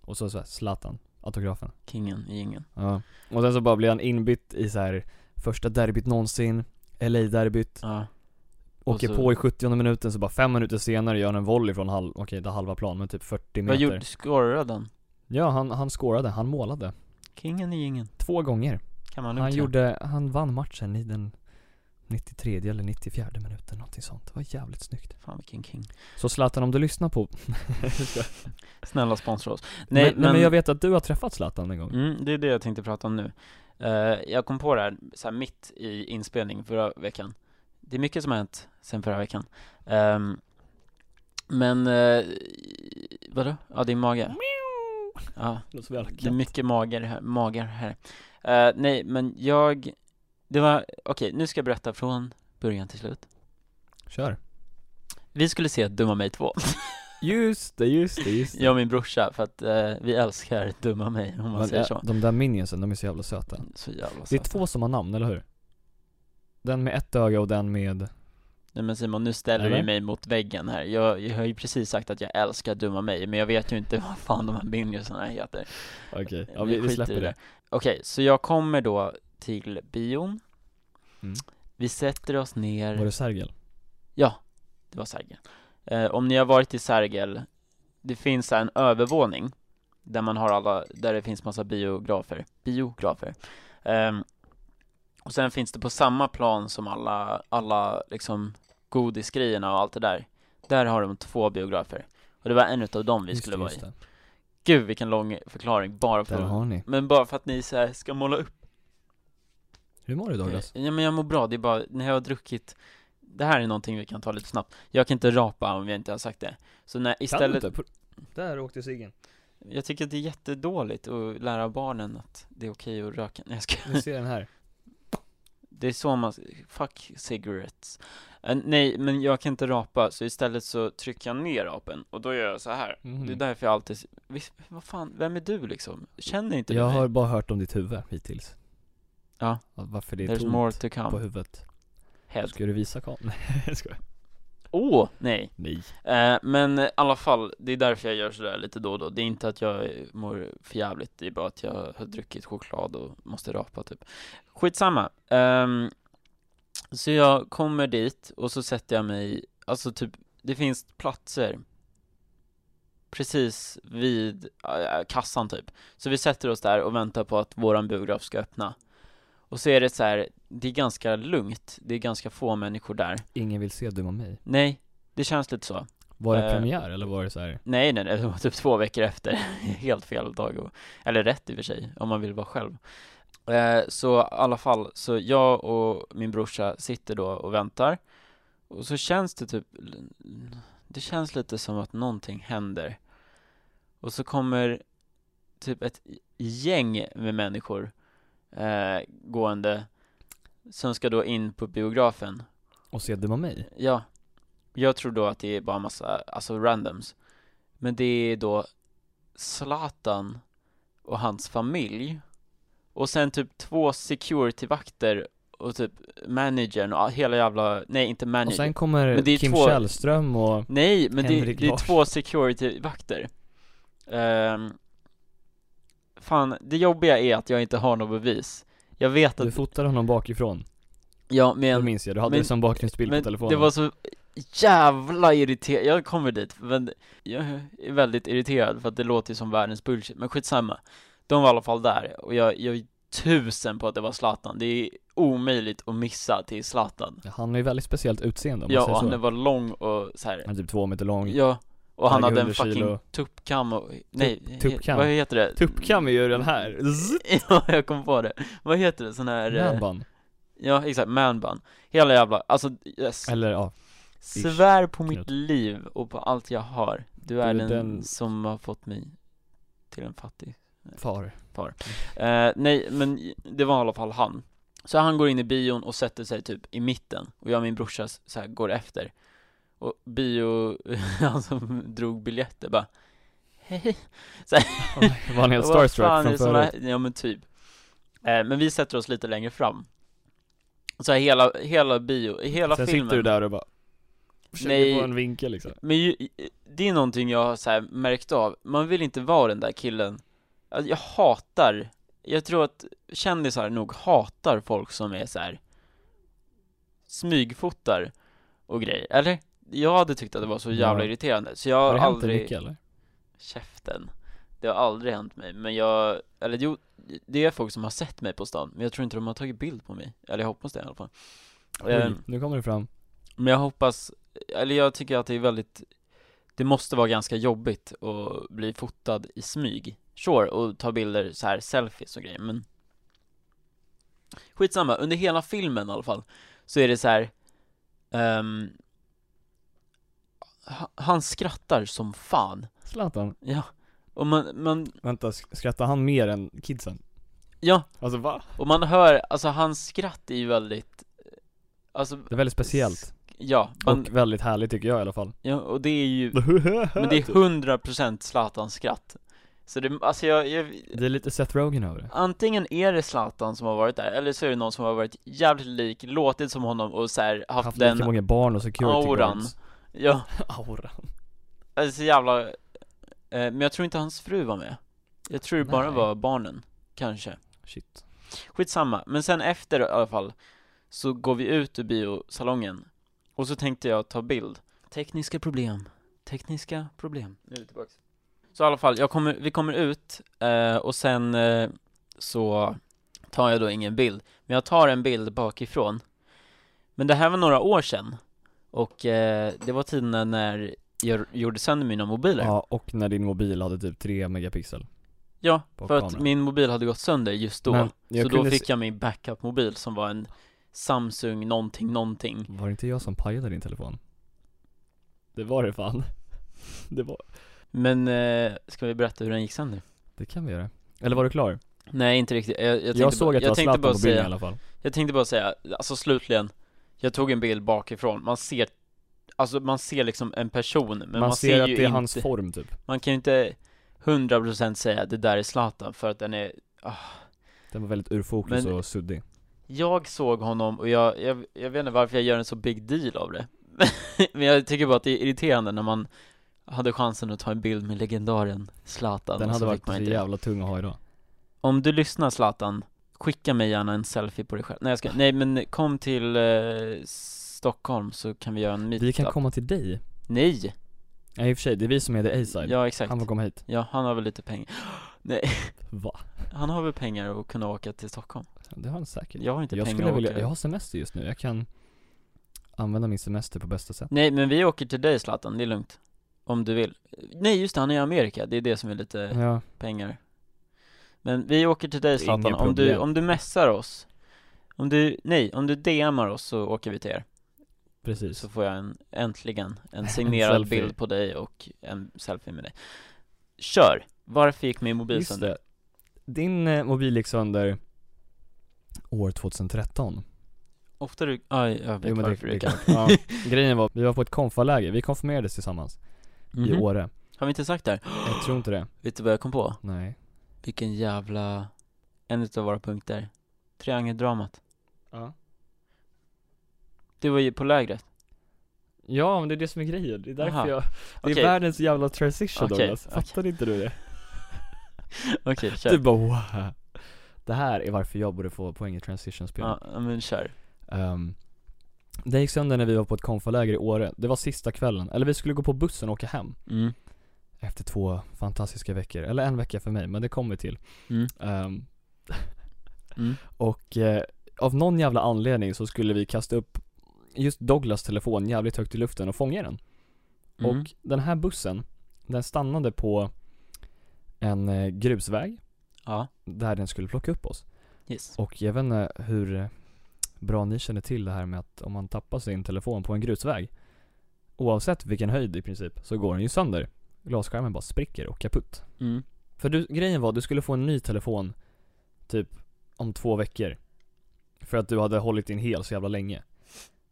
Speaker 2: Och så, så här, Zlatan, autografen.
Speaker 1: Kingen i ingen.
Speaker 2: Ja. Och sen så bara blir han inbytt i så här första derbyt någonsin, LA-derbyt.
Speaker 1: Ja. Och
Speaker 2: Åker
Speaker 1: så-
Speaker 2: på i 70 minuten så bara fem minuter senare gör han en volley från halv, okej det är halva plan men typ 40 meter.
Speaker 1: Vad gjorde, scorrade han?
Speaker 2: Ja han, han scorade, han målade.
Speaker 1: Kingen i ingen.
Speaker 2: Två gånger.
Speaker 1: Kan man
Speaker 2: Han,
Speaker 1: lugnt säga.
Speaker 2: gjorde, han vann matchen i den 93 eller 94 minuten någonting sånt. Det var jävligt snyggt.
Speaker 1: Fan vilken king.
Speaker 2: Så Zlatan om du lyssnar på
Speaker 1: Snälla sponsra oss.
Speaker 2: Nej
Speaker 1: Nej
Speaker 2: men, nej men jag vet att du har träffat Zlatan en gång.
Speaker 1: Mm, det är det jag tänkte prata om nu. Eh, jag kom på det här, så här mitt i inspelning förra veckan. Det är mycket som har hänt sen förra veckan. Ehm, men, eh, vadå? Ja, din mage. Ja,
Speaker 2: Låter som en jävla
Speaker 1: det är
Speaker 2: katt.
Speaker 1: mycket mager här, magar här. Eh, nej, men jag, det var, okej, nu ska jag berätta från början till slut.
Speaker 2: Kör.
Speaker 1: Vi skulle se Dumma mig 2,
Speaker 2: Just det, just det, just det.
Speaker 1: jag och min brorsa, för att eh, vi älskar Dumma mig, om man
Speaker 2: Men,
Speaker 1: säger
Speaker 2: äh,
Speaker 1: så.
Speaker 2: De där minionsen, de är så jävla söta.
Speaker 1: Så jävla
Speaker 2: Det är
Speaker 1: söt.
Speaker 2: två som har namn, eller hur? Den med ett öga och den med...
Speaker 1: Nej men Simon, nu ställer du
Speaker 2: Eller?
Speaker 1: mig mot väggen här. Jag, jag har ju precis sagt att jag älskar Dumma mig, men jag vet ju inte vad fan de här minionsarna heter.
Speaker 2: Okej, ja, vi, vi
Speaker 1: skiter i
Speaker 2: släpper det.
Speaker 1: Okej, så jag kommer då till bion.
Speaker 2: Mm.
Speaker 1: Vi sätter oss ner.
Speaker 2: Var det Sergel?
Speaker 1: Ja, det var Sergel. Eh, om ni har varit i Sergel, det finns så här en övervåning där man har alla, där det finns massa biografer, biografer. Ehm, och sen finns det på samma plan som alla, alla liksom godisgrejerna och allt det där. Där har de två biografer. Och det var en utav dem vi
Speaker 2: Just
Speaker 1: skulle
Speaker 2: det,
Speaker 1: vara i.
Speaker 2: just det.
Speaker 1: Gud vilken lång förklaring, bara
Speaker 2: Där
Speaker 1: för
Speaker 2: har ni.
Speaker 1: Men bara för att ni så här ska måla upp
Speaker 2: Hur mår du Douglas?
Speaker 1: Eh, Ja men jag mår bra, det är bara, när jag har druckit Det här är någonting vi kan ta lite snabbt Jag kan inte rapa om jag inte har sagt det Så när istället,
Speaker 2: Kan du inte? Där åkte ciggen.
Speaker 1: jag tycker att det är jättedåligt att lära barnen att det är okej att röka Nej jag ska,
Speaker 2: Du ser den här.
Speaker 1: det är så man, fuck cigarettes Eh, Nej men jag kan inte rapa, så istället så trycker jag ner apen och då gör jag så här
Speaker 2: Mhm.
Speaker 1: Det är därför jag alltid, visst, vad fan, vem är du liksom? Känner inte
Speaker 2: Jag
Speaker 1: du
Speaker 2: har
Speaker 1: mig?
Speaker 2: bara hört om ditt huvud hittills.
Speaker 1: Ja.
Speaker 2: Varför det är
Speaker 1: There's
Speaker 2: tomt
Speaker 1: more to
Speaker 2: på
Speaker 1: come,
Speaker 2: huvudet.
Speaker 1: head
Speaker 2: Ska du visa kameran? Nej, jag skojar.
Speaker 1: Åh, nej!
Speaker 2: Nej.
Speaker 1: Eh, men i alla fall, det är därför jag gör sådär lite då och då. Det är inte att jag eh, mår för jävligt det är bara att jag har druckit choklad och måste rapa typ. Skitsamma. Ehm, så jag kommer dit och så sätter jag mig, alltså typ, det finns platser precis vid eh, kassan typ. Så vi sätter oss där och väntar på att våran biograf ska öppna. Och så är det så här, det är ganska lugnt, det är ganska få människor där.
Speaker 2: Ingen vill se Dumma mig.
Speaker 1: Nej, det känns lite så.
Speaker 2: Var det
Speaker 1: Eh.
Speaker 2: premiär eller var det så här?
Speaker 1: Nej, nej, nej, det var typ två veckor efter. Helt fel dag och, eller rätt i och för sig, om man vill vara själv. Eh, så i alla fall, så jag och min brorsa sitter då och väntar. Och så känns det typ, det känns lite som att någonting händer. Och så kommer typ ett gäng med människor eh, gående som ska då in på biografen.
Speaker 2: Och se Dumma mig?
Speaker 1: Ja, jag tror då att det är bara massa, alltså randoms Men det är då Zlatan och hans familj Och sen typ två securityvakter och typ managern och hela jävla, nej inte
Speaker 2: Och sen
Speaker 1: managern
Speaker 2: kommer
Speaker 1: Men det är
Speaker 2: Kim
Speaker 1: två-
Speaker 2: Källström och...
Speaker 1: Nej men det,
Speaker 2: Henrik
Speaker 1: det är
Speaker 2: Larsson.
Speaker 1: två securityvakter Ehm, Fan, det jobbiga är att jag inte har något bevis Jag vet
Speaker 2: Du
Speaker 1: att,
Speaker 2: fotade honom bakifrån.
Speaker 1: ja
Speaker 2: det
Speaker 1: men
Speaker 2: minns jag, du hade
Speaker 1: men-
Speaker 2: det som bakgrundsbild på
Speaker 1: Men
Speaker 2: telefonen.
Speaker 1: det var så jävla irriterad, jag kommer dit, men jag är väldigt irriterad för att det låter ju som världens bullshit, men skitsamma De var i alla fall där, och jag, jag är tusen på att det var Zlatan, det är omöjligt att missa till Zlatan
Speaker 2: Ja, Han har ju väldigt speciellt utseende om
Speaker 1: Ja,
Speaker 2: man säger
Speaker 1: och
Speaker 2: så.
Speaker 1: han var lång och så här.
Speaker 2: Han är typ två meter lång.
Speaker 1: ja och han
Speaker 2: Väger
Speaker 1: hade en
Speaker 2: 100
Speaker 1: fucking
Speaker 2: kilo.
Speaker 1: tuppkam och, nej,
Speaker 2: tuppkam.
Speaker 1: vad heter det?
Speaker 2: Tuppkam är ju den här.
Speaker 1: ja, jag kom på det, vad heter det, sån här, eh,
Speaker 2: Manbun.
Speaker 1: ja exakt, manbun Hela jävla, alltså yes.
Speaker 2: Eller ja,
Speaker 1: Svär på mitt
Speaker 2: knut.
Speaker 1: liv och på allt jag har Du är
Speaker 2: är
Speaker 1: den,
Speaker 2: den-
Speaker 1: som har fått mig till en fattig
Speaker 2: far.
Speaker 1: eh, Nej men det var i alla fall han Så han går in i bion och sätter sig typ i mitten Och jag och min brorsa s- så här går efter Och bio, han som drog biljetter bara Hej
Speaker 2: Var han helt
Speaker 1: Och vad
Speaker 2: starstruck
Speaker 1: fan är
Speaker 2: från
Speaker 1: det som har-
Speaker 2: förut?
Speaker 1: Ja men typ eh, Men vi sätter oss lite längre fram Så här hela, hela bio, hela
Speaker 2: Sen
Speaker 1: filmen
Speaker 2: sitter du där och bara försöker
Speaker 1: Nej.
Speaker 2: få en vinkel liksom.
Speaker 1: Men ju, det är någonting jag har så här märkt av, man vill inte vara den där killen alltså, Jag hatar, jag tror att kändisar nog hatar folk som är så här smygfotar och grejer, eller? Jag hade tyckt att det var så jävla
Speaker 2: Ja.
Speaker 1: irriterande, så jag
Speaker 2: Har
Speaker 1: har
Speaker 2: det hänt dig mycket
Speaker 1: aldrig,
Speaker 2: eller?
Speaker 1: käften Det har aldrig hänt mig, men jag, eller jo, det är folk som har sett mig på stan, men jag tror inte de har tagit bild på mig, eller jag hoppas det i alla fall Ehm,
Speaker 2: Oj, nu kommer det fram.
Speaker 1: men jag hoppas, eller jag tycker att det är väldigt Det måste vara ganska jobbigt att bli fotad i smyg Sure, och ta bilder så här selfies och grejer men Skitsamma, under hela filmen i alla fall Så är det så här. ehm, ha- Han skrattar som fan
Speaker 2: Zlatan.
Speaker 1: Ja Och man, man,
Speaker 2: Vänta, sk- skrattar han mer än kidsen?
Speaker 1: ja,
Speaker 2: Alltså va?
Speaker 1: och man hör, alltså hans skratt är ju väldigt Alltså,
Speaker 2: Det är väldigt speciellt.
Speaker 1: ja, man,
Speaker 2: Och väldigt härligt tycker jag i alla fall.
Speaker 1: ja, och det är ju Men
Speaker 2: Men
Speaker 1: det är 100% Zlatans skratt Så det, alltså jag, jag
Speaker 2: Det är lite Seth Rogen över det.
Speaker 1: Antingen är det Zlatan som har varit där, eller så är det någon som har varit jävligt lik, låtit som honom och så här, haft,
Speaker 2: Haft
Speaker 1: den,
Speaker 2: lika många barn och security
Speaker 1: auran.
Speaker 2: guards.
Speaker 1: ja,
Speaker 2: Auran.
Speaker 1: alltså jävla eh, Men jag tror inte hans fru var med Jag tror det bara
Speaker 2: Nej.
Speaker 1: var barnen, kanske
Speaker 2: Shit.
Speaker 1: Skitsamma, men sen efter i alla fall Så går vi ut ur biosalongen Och så tänkte jag ta bild Tekniska problem, tekniska problem Nu är vi tillbaks Så i alla fall, jag kommer, vi kommer ut eh, och sen eh, så tar jag då ingen bild Men jag tar en bild bakifrån Men det här var några år sedan Och eh, det var tiden när jag gjorde sönder mina mobiler
Speaker 2: Ja, och när din mobil hade typ 3 megapixel.
Speaker 1: Ja,
Speaker 2: På
Speaker 1: för att
Speaker 2: kameran.
Speaker 1: min mobil hade gått sönder just då
Speaker 2: Men jag
Speaker 1: Så då
Speaker 2: kunde
Speaker 1: fick
Speaker 2: se-
Speaker 1: jag min backup-mobil som var en Samsung någonting någonting
Speaker 2: Var det inte jag som pajade din telefon? Det var det fan. Det var...
Speaker 1: Men, eh, ska vi berätta hur den gick sönder?
Speaker 2: Det kan vi göra. Eller var du klar?
Speaker 1: Nej inte riktigt, jag, jag
Speaker 2: Jag,
Speaker 1: tänkte,
Speaker 2: såg
Speaker 1: bara-
Speaker 2: att det
Speaker 1: jag
Speaker 2: var
Speaker 1: tänkte
Speaker 2: Zlatan på
Speaker 1: bara
Speaker 2: bilden i
Speaker 1: säga,
Speaker 2: alla fall.
Speaker 1: jag tänkte bara säga, alltså slutligen Jag tog en bild bakifrån, man ser Alltså man ser liksom en person, men man,
Speaker 2: Man, ser att
Speaker 1: ju
Speaker 2: det är
Speaker 1: inte,
Speaker 2: hans form typ.
Speaker 1: man kan ju inte 100% säga att det där är Zlatan för att den är
Speaker 2: Den var väldigt ur fokus
Speaker 1: Men-
Speaker 2: och suddig.
Speaker 1: Jag såg honom och jag, jag, jag vet inte varför jag gör en så big deal av det Men jag tycker bara att det är irriterande när man hade chansen att ta en bild med legendaren Zlatan
Speaker 2: Den
Speaker 1: och
Speaker 2: hade
Speaker 1: så
Speaker 2: varit
Speaker 1: fick man
Speaker 2: så
Speaker 1: inte det.
Speaker 2: jävla tung att ha idag.
Speaker 1: Om du lyssnar Zlatan, skicka mig gärna en selfie på dig själv Nej jag ska, nej men kom till eh, Stockholm så kan vi göra en meetup
Speaker 2: Vi kan komma till dig.
Speaker 1: Nej!
Speaker 2: Nej i och för sig, det är vi som är the A-side.
Speaker 1: Ja exakt,
Speaker 2: Han får komma hit.
Speaker 1: ja han har väl lite pengar Nej,
Speaker 2: Va?
Speaker 1: han har väl pengar att kunna åka till Stockholm?
Speaker 2: Det har han säkert.
Speaker 1: Jag har inte
Speaker 2: jag
Speaker 1: pengar
Speaker 2: skulle
Speaker 1: att
Speaker 2: vilja,
Speaker 1: åka
Speaker 2: jag har semester just nu, jag kan använda min semester på bästa sätt.
Speaker 1: Nej men vi åker till dig Zlatan, det är lugnt Om du vill Nej just det, han är i Amerika, det är det som är lite
Speaker 2: Ja,
Speaker 1: pengar Men vi åker till dig
Speaker 2: Mm. Det är inga
Speaker 1: Zlatan, om du,
Speaker 2: problem.
Speaker 1: om du messar oss Om du, nej, om du DMar oss så åker vi till er
Speaker 2: precis.
Speaker 1: Så får jag en, äntligen en
Speaker 2: En
Speaker 1: signerad
Speaker 2: selfie.
Speaker 1: bild på dig och en selfie med dig Kör! Varför gick min mobil
Speaker 2: Just
Speaker 1: sönder?
Speaker 2: det. Din eh, mobil gick sönder år 2013.
Speaker 1: Ofta du, aj, jag vet
Speaker 2: Jo, men det,
Speaker 1: varför
Speaker 2: det är
Speaker 1: du kan
Speaker 2: klart. Ja, grejen var, vi var på ett konfaläger, vi konfirmerades tillsammans i
Speaker 1: Mhm.
Speaker 2: Åre.
Speaker 1: Har vi inte sagt det här?
Speaker 2: Jag tror inte det.
Speaker 1: Vet du vad jag kom på?
Speaker 2: Nej.
Speaker 1: Vilken jävla, en utav våra punkter Triangeldramat
Speaker 2: Ja.
Speaker 1: Du var ju på lägret
Speaker 2: Ja, men det är det som är grejen. Det är därför
Speaker 1: Aha.
Speaker 2: jag, det är
Speaker 1: Okej.
Speaker 2: världens jävla transition
Speaker 1: Okej,
Speaker 2: Douglas.
Speaker 1: okej.
Speaker 2: Fattade inte du det?
Speaker 1: Okej, kör
Speaker 2: Du bara wow. Det här är varför jag borde få poäng i transition-spel.
Speaker 1: Ja, ja, men kör
Speaker 2: Ehm, det gick sönder när vi var på ett konfaläger i Åre. Det var sista kvällen. Eller vi skulle gå på bussen och åka hem.
Speaker 1: mm.
Speaker 2: Efter två fantastiska veckor. Eller en vecka för mig, men det kommer vi till.
Speaker 1: Mm.
Speaker 2: Ehm,
Speaker 1: Mm.
Speaker 2: och eh, av någon jävla anledning så skulle vi kasta upp just Douglas telefon jävligt högt i luften och fånga den.
Speaker 1: Mm.
Speaker 2: Och den här bussen, den stannade på en eh, grusväg
Speaker 1: Ja,
Speaker 2: där den skulle plocka upp oss.
Speaker 1: yes
Speaker 2: Och jag vet inte hur eh, bra ni känner till det här med att om man tappar sin telefon på en grusväg Oavsett vilken höjd i princip så går den ju sönder Glasskärmen bara spricker och kaputt
Speaker 1: mm.
Speaker 2: För du, grejen var du skulle få en ny telefon typ om två veckor För att du hade hållit din hel så jävla länge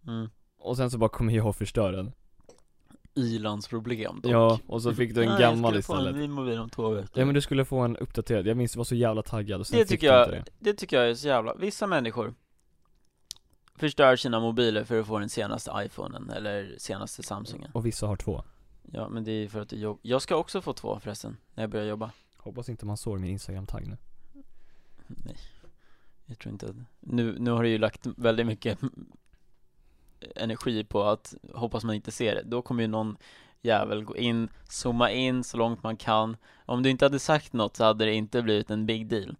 Speaker 1: Mm.
Speaker 2: Och sen så bara kommer jag och förstör den
Speaker 1: I-landsproblem dock
Speaker 2: Ja, och så fick du en
Speaker 1: Nej,
Speaker 2: gammal
Speaker 1: Jag skulle få en ny
Speaker 2: istället
Speaker 1: mobil om två veckor
Speaker 2: Ja men du skulle få en uppdaterad, jag minns du var så jävla taggad och sen
Speaker 1: Det
Speaker 2: fick
Speaker 1: tycker
Speaker 2: du
Speaker 1: jag-
Speaker 2: inte det
Speaker 1: Det tycker jag är så jävla, vissa människor Förstör sina mobiler för att få den senaste iPhonen eller senaste Samsungen
Speaker 2: Och vissa har två
Speaker 1: Ja men det är för att du jobb... jag ska också få två förresten, när jag börjar jobba
Speaker 2: Hoppas inte man såg min instagram-tagg nu
Speaker 1: Nej Jag tror inte att, nu, nu har du ju lagt väldigt mycket energi på att hoppas man inte ser det Då kommer ju någon jävel gå in, zooma in så långt man kan Om du inte hade sagt något så hade det inte blivit en big deal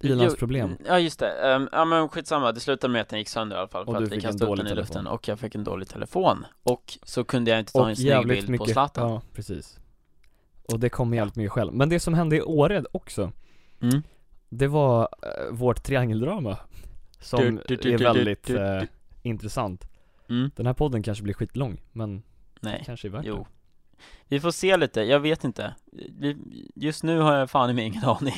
Speaker 2: Bilans
Speaker 1: Jo,
Speaker 2: problem
Speaker 1: Ja just det, Ehm, ja men skitsamma, det slutade med att den gick sönder i alla fall
Speaker 2: Och
Speaker 1: för
Speaker 2: du
Speaker 1: att vi
Speaker 2: fick en
Speaker 1: kastade upp
Speaker 2: dålig
Speaker 1: den i luften
Speaker 2: telefon.
Speaker 1: och jag fick en dålig telefon Och så kunde jag inte ta en snygg bild på Zlatan
Speaker 2: ja precis Och det kom jävligt mycket själv, men det som hände i Åre också
Speaker 1: mm.
Speaker 2: Det var eh, vårt triangeldrama Som
Speaker 1: Du, du, du,
Speaker 2: är
Speaker 1: du,
Speaker 2: väldigt
Speaker 1: du, du,
Speaker 2: eh,
Speaker 1: du.
Speaker 2: intressant
Speaker 1: Mm.
Speaker 2: Den här podden kanske blir skitlång men
Speaker 1: Nej,
Speaker 2: kanske är värt
Speaker 1: Eh, jo Vi får se lite, jag vet inte Vi- Just nu har jag fan i mig ingen aning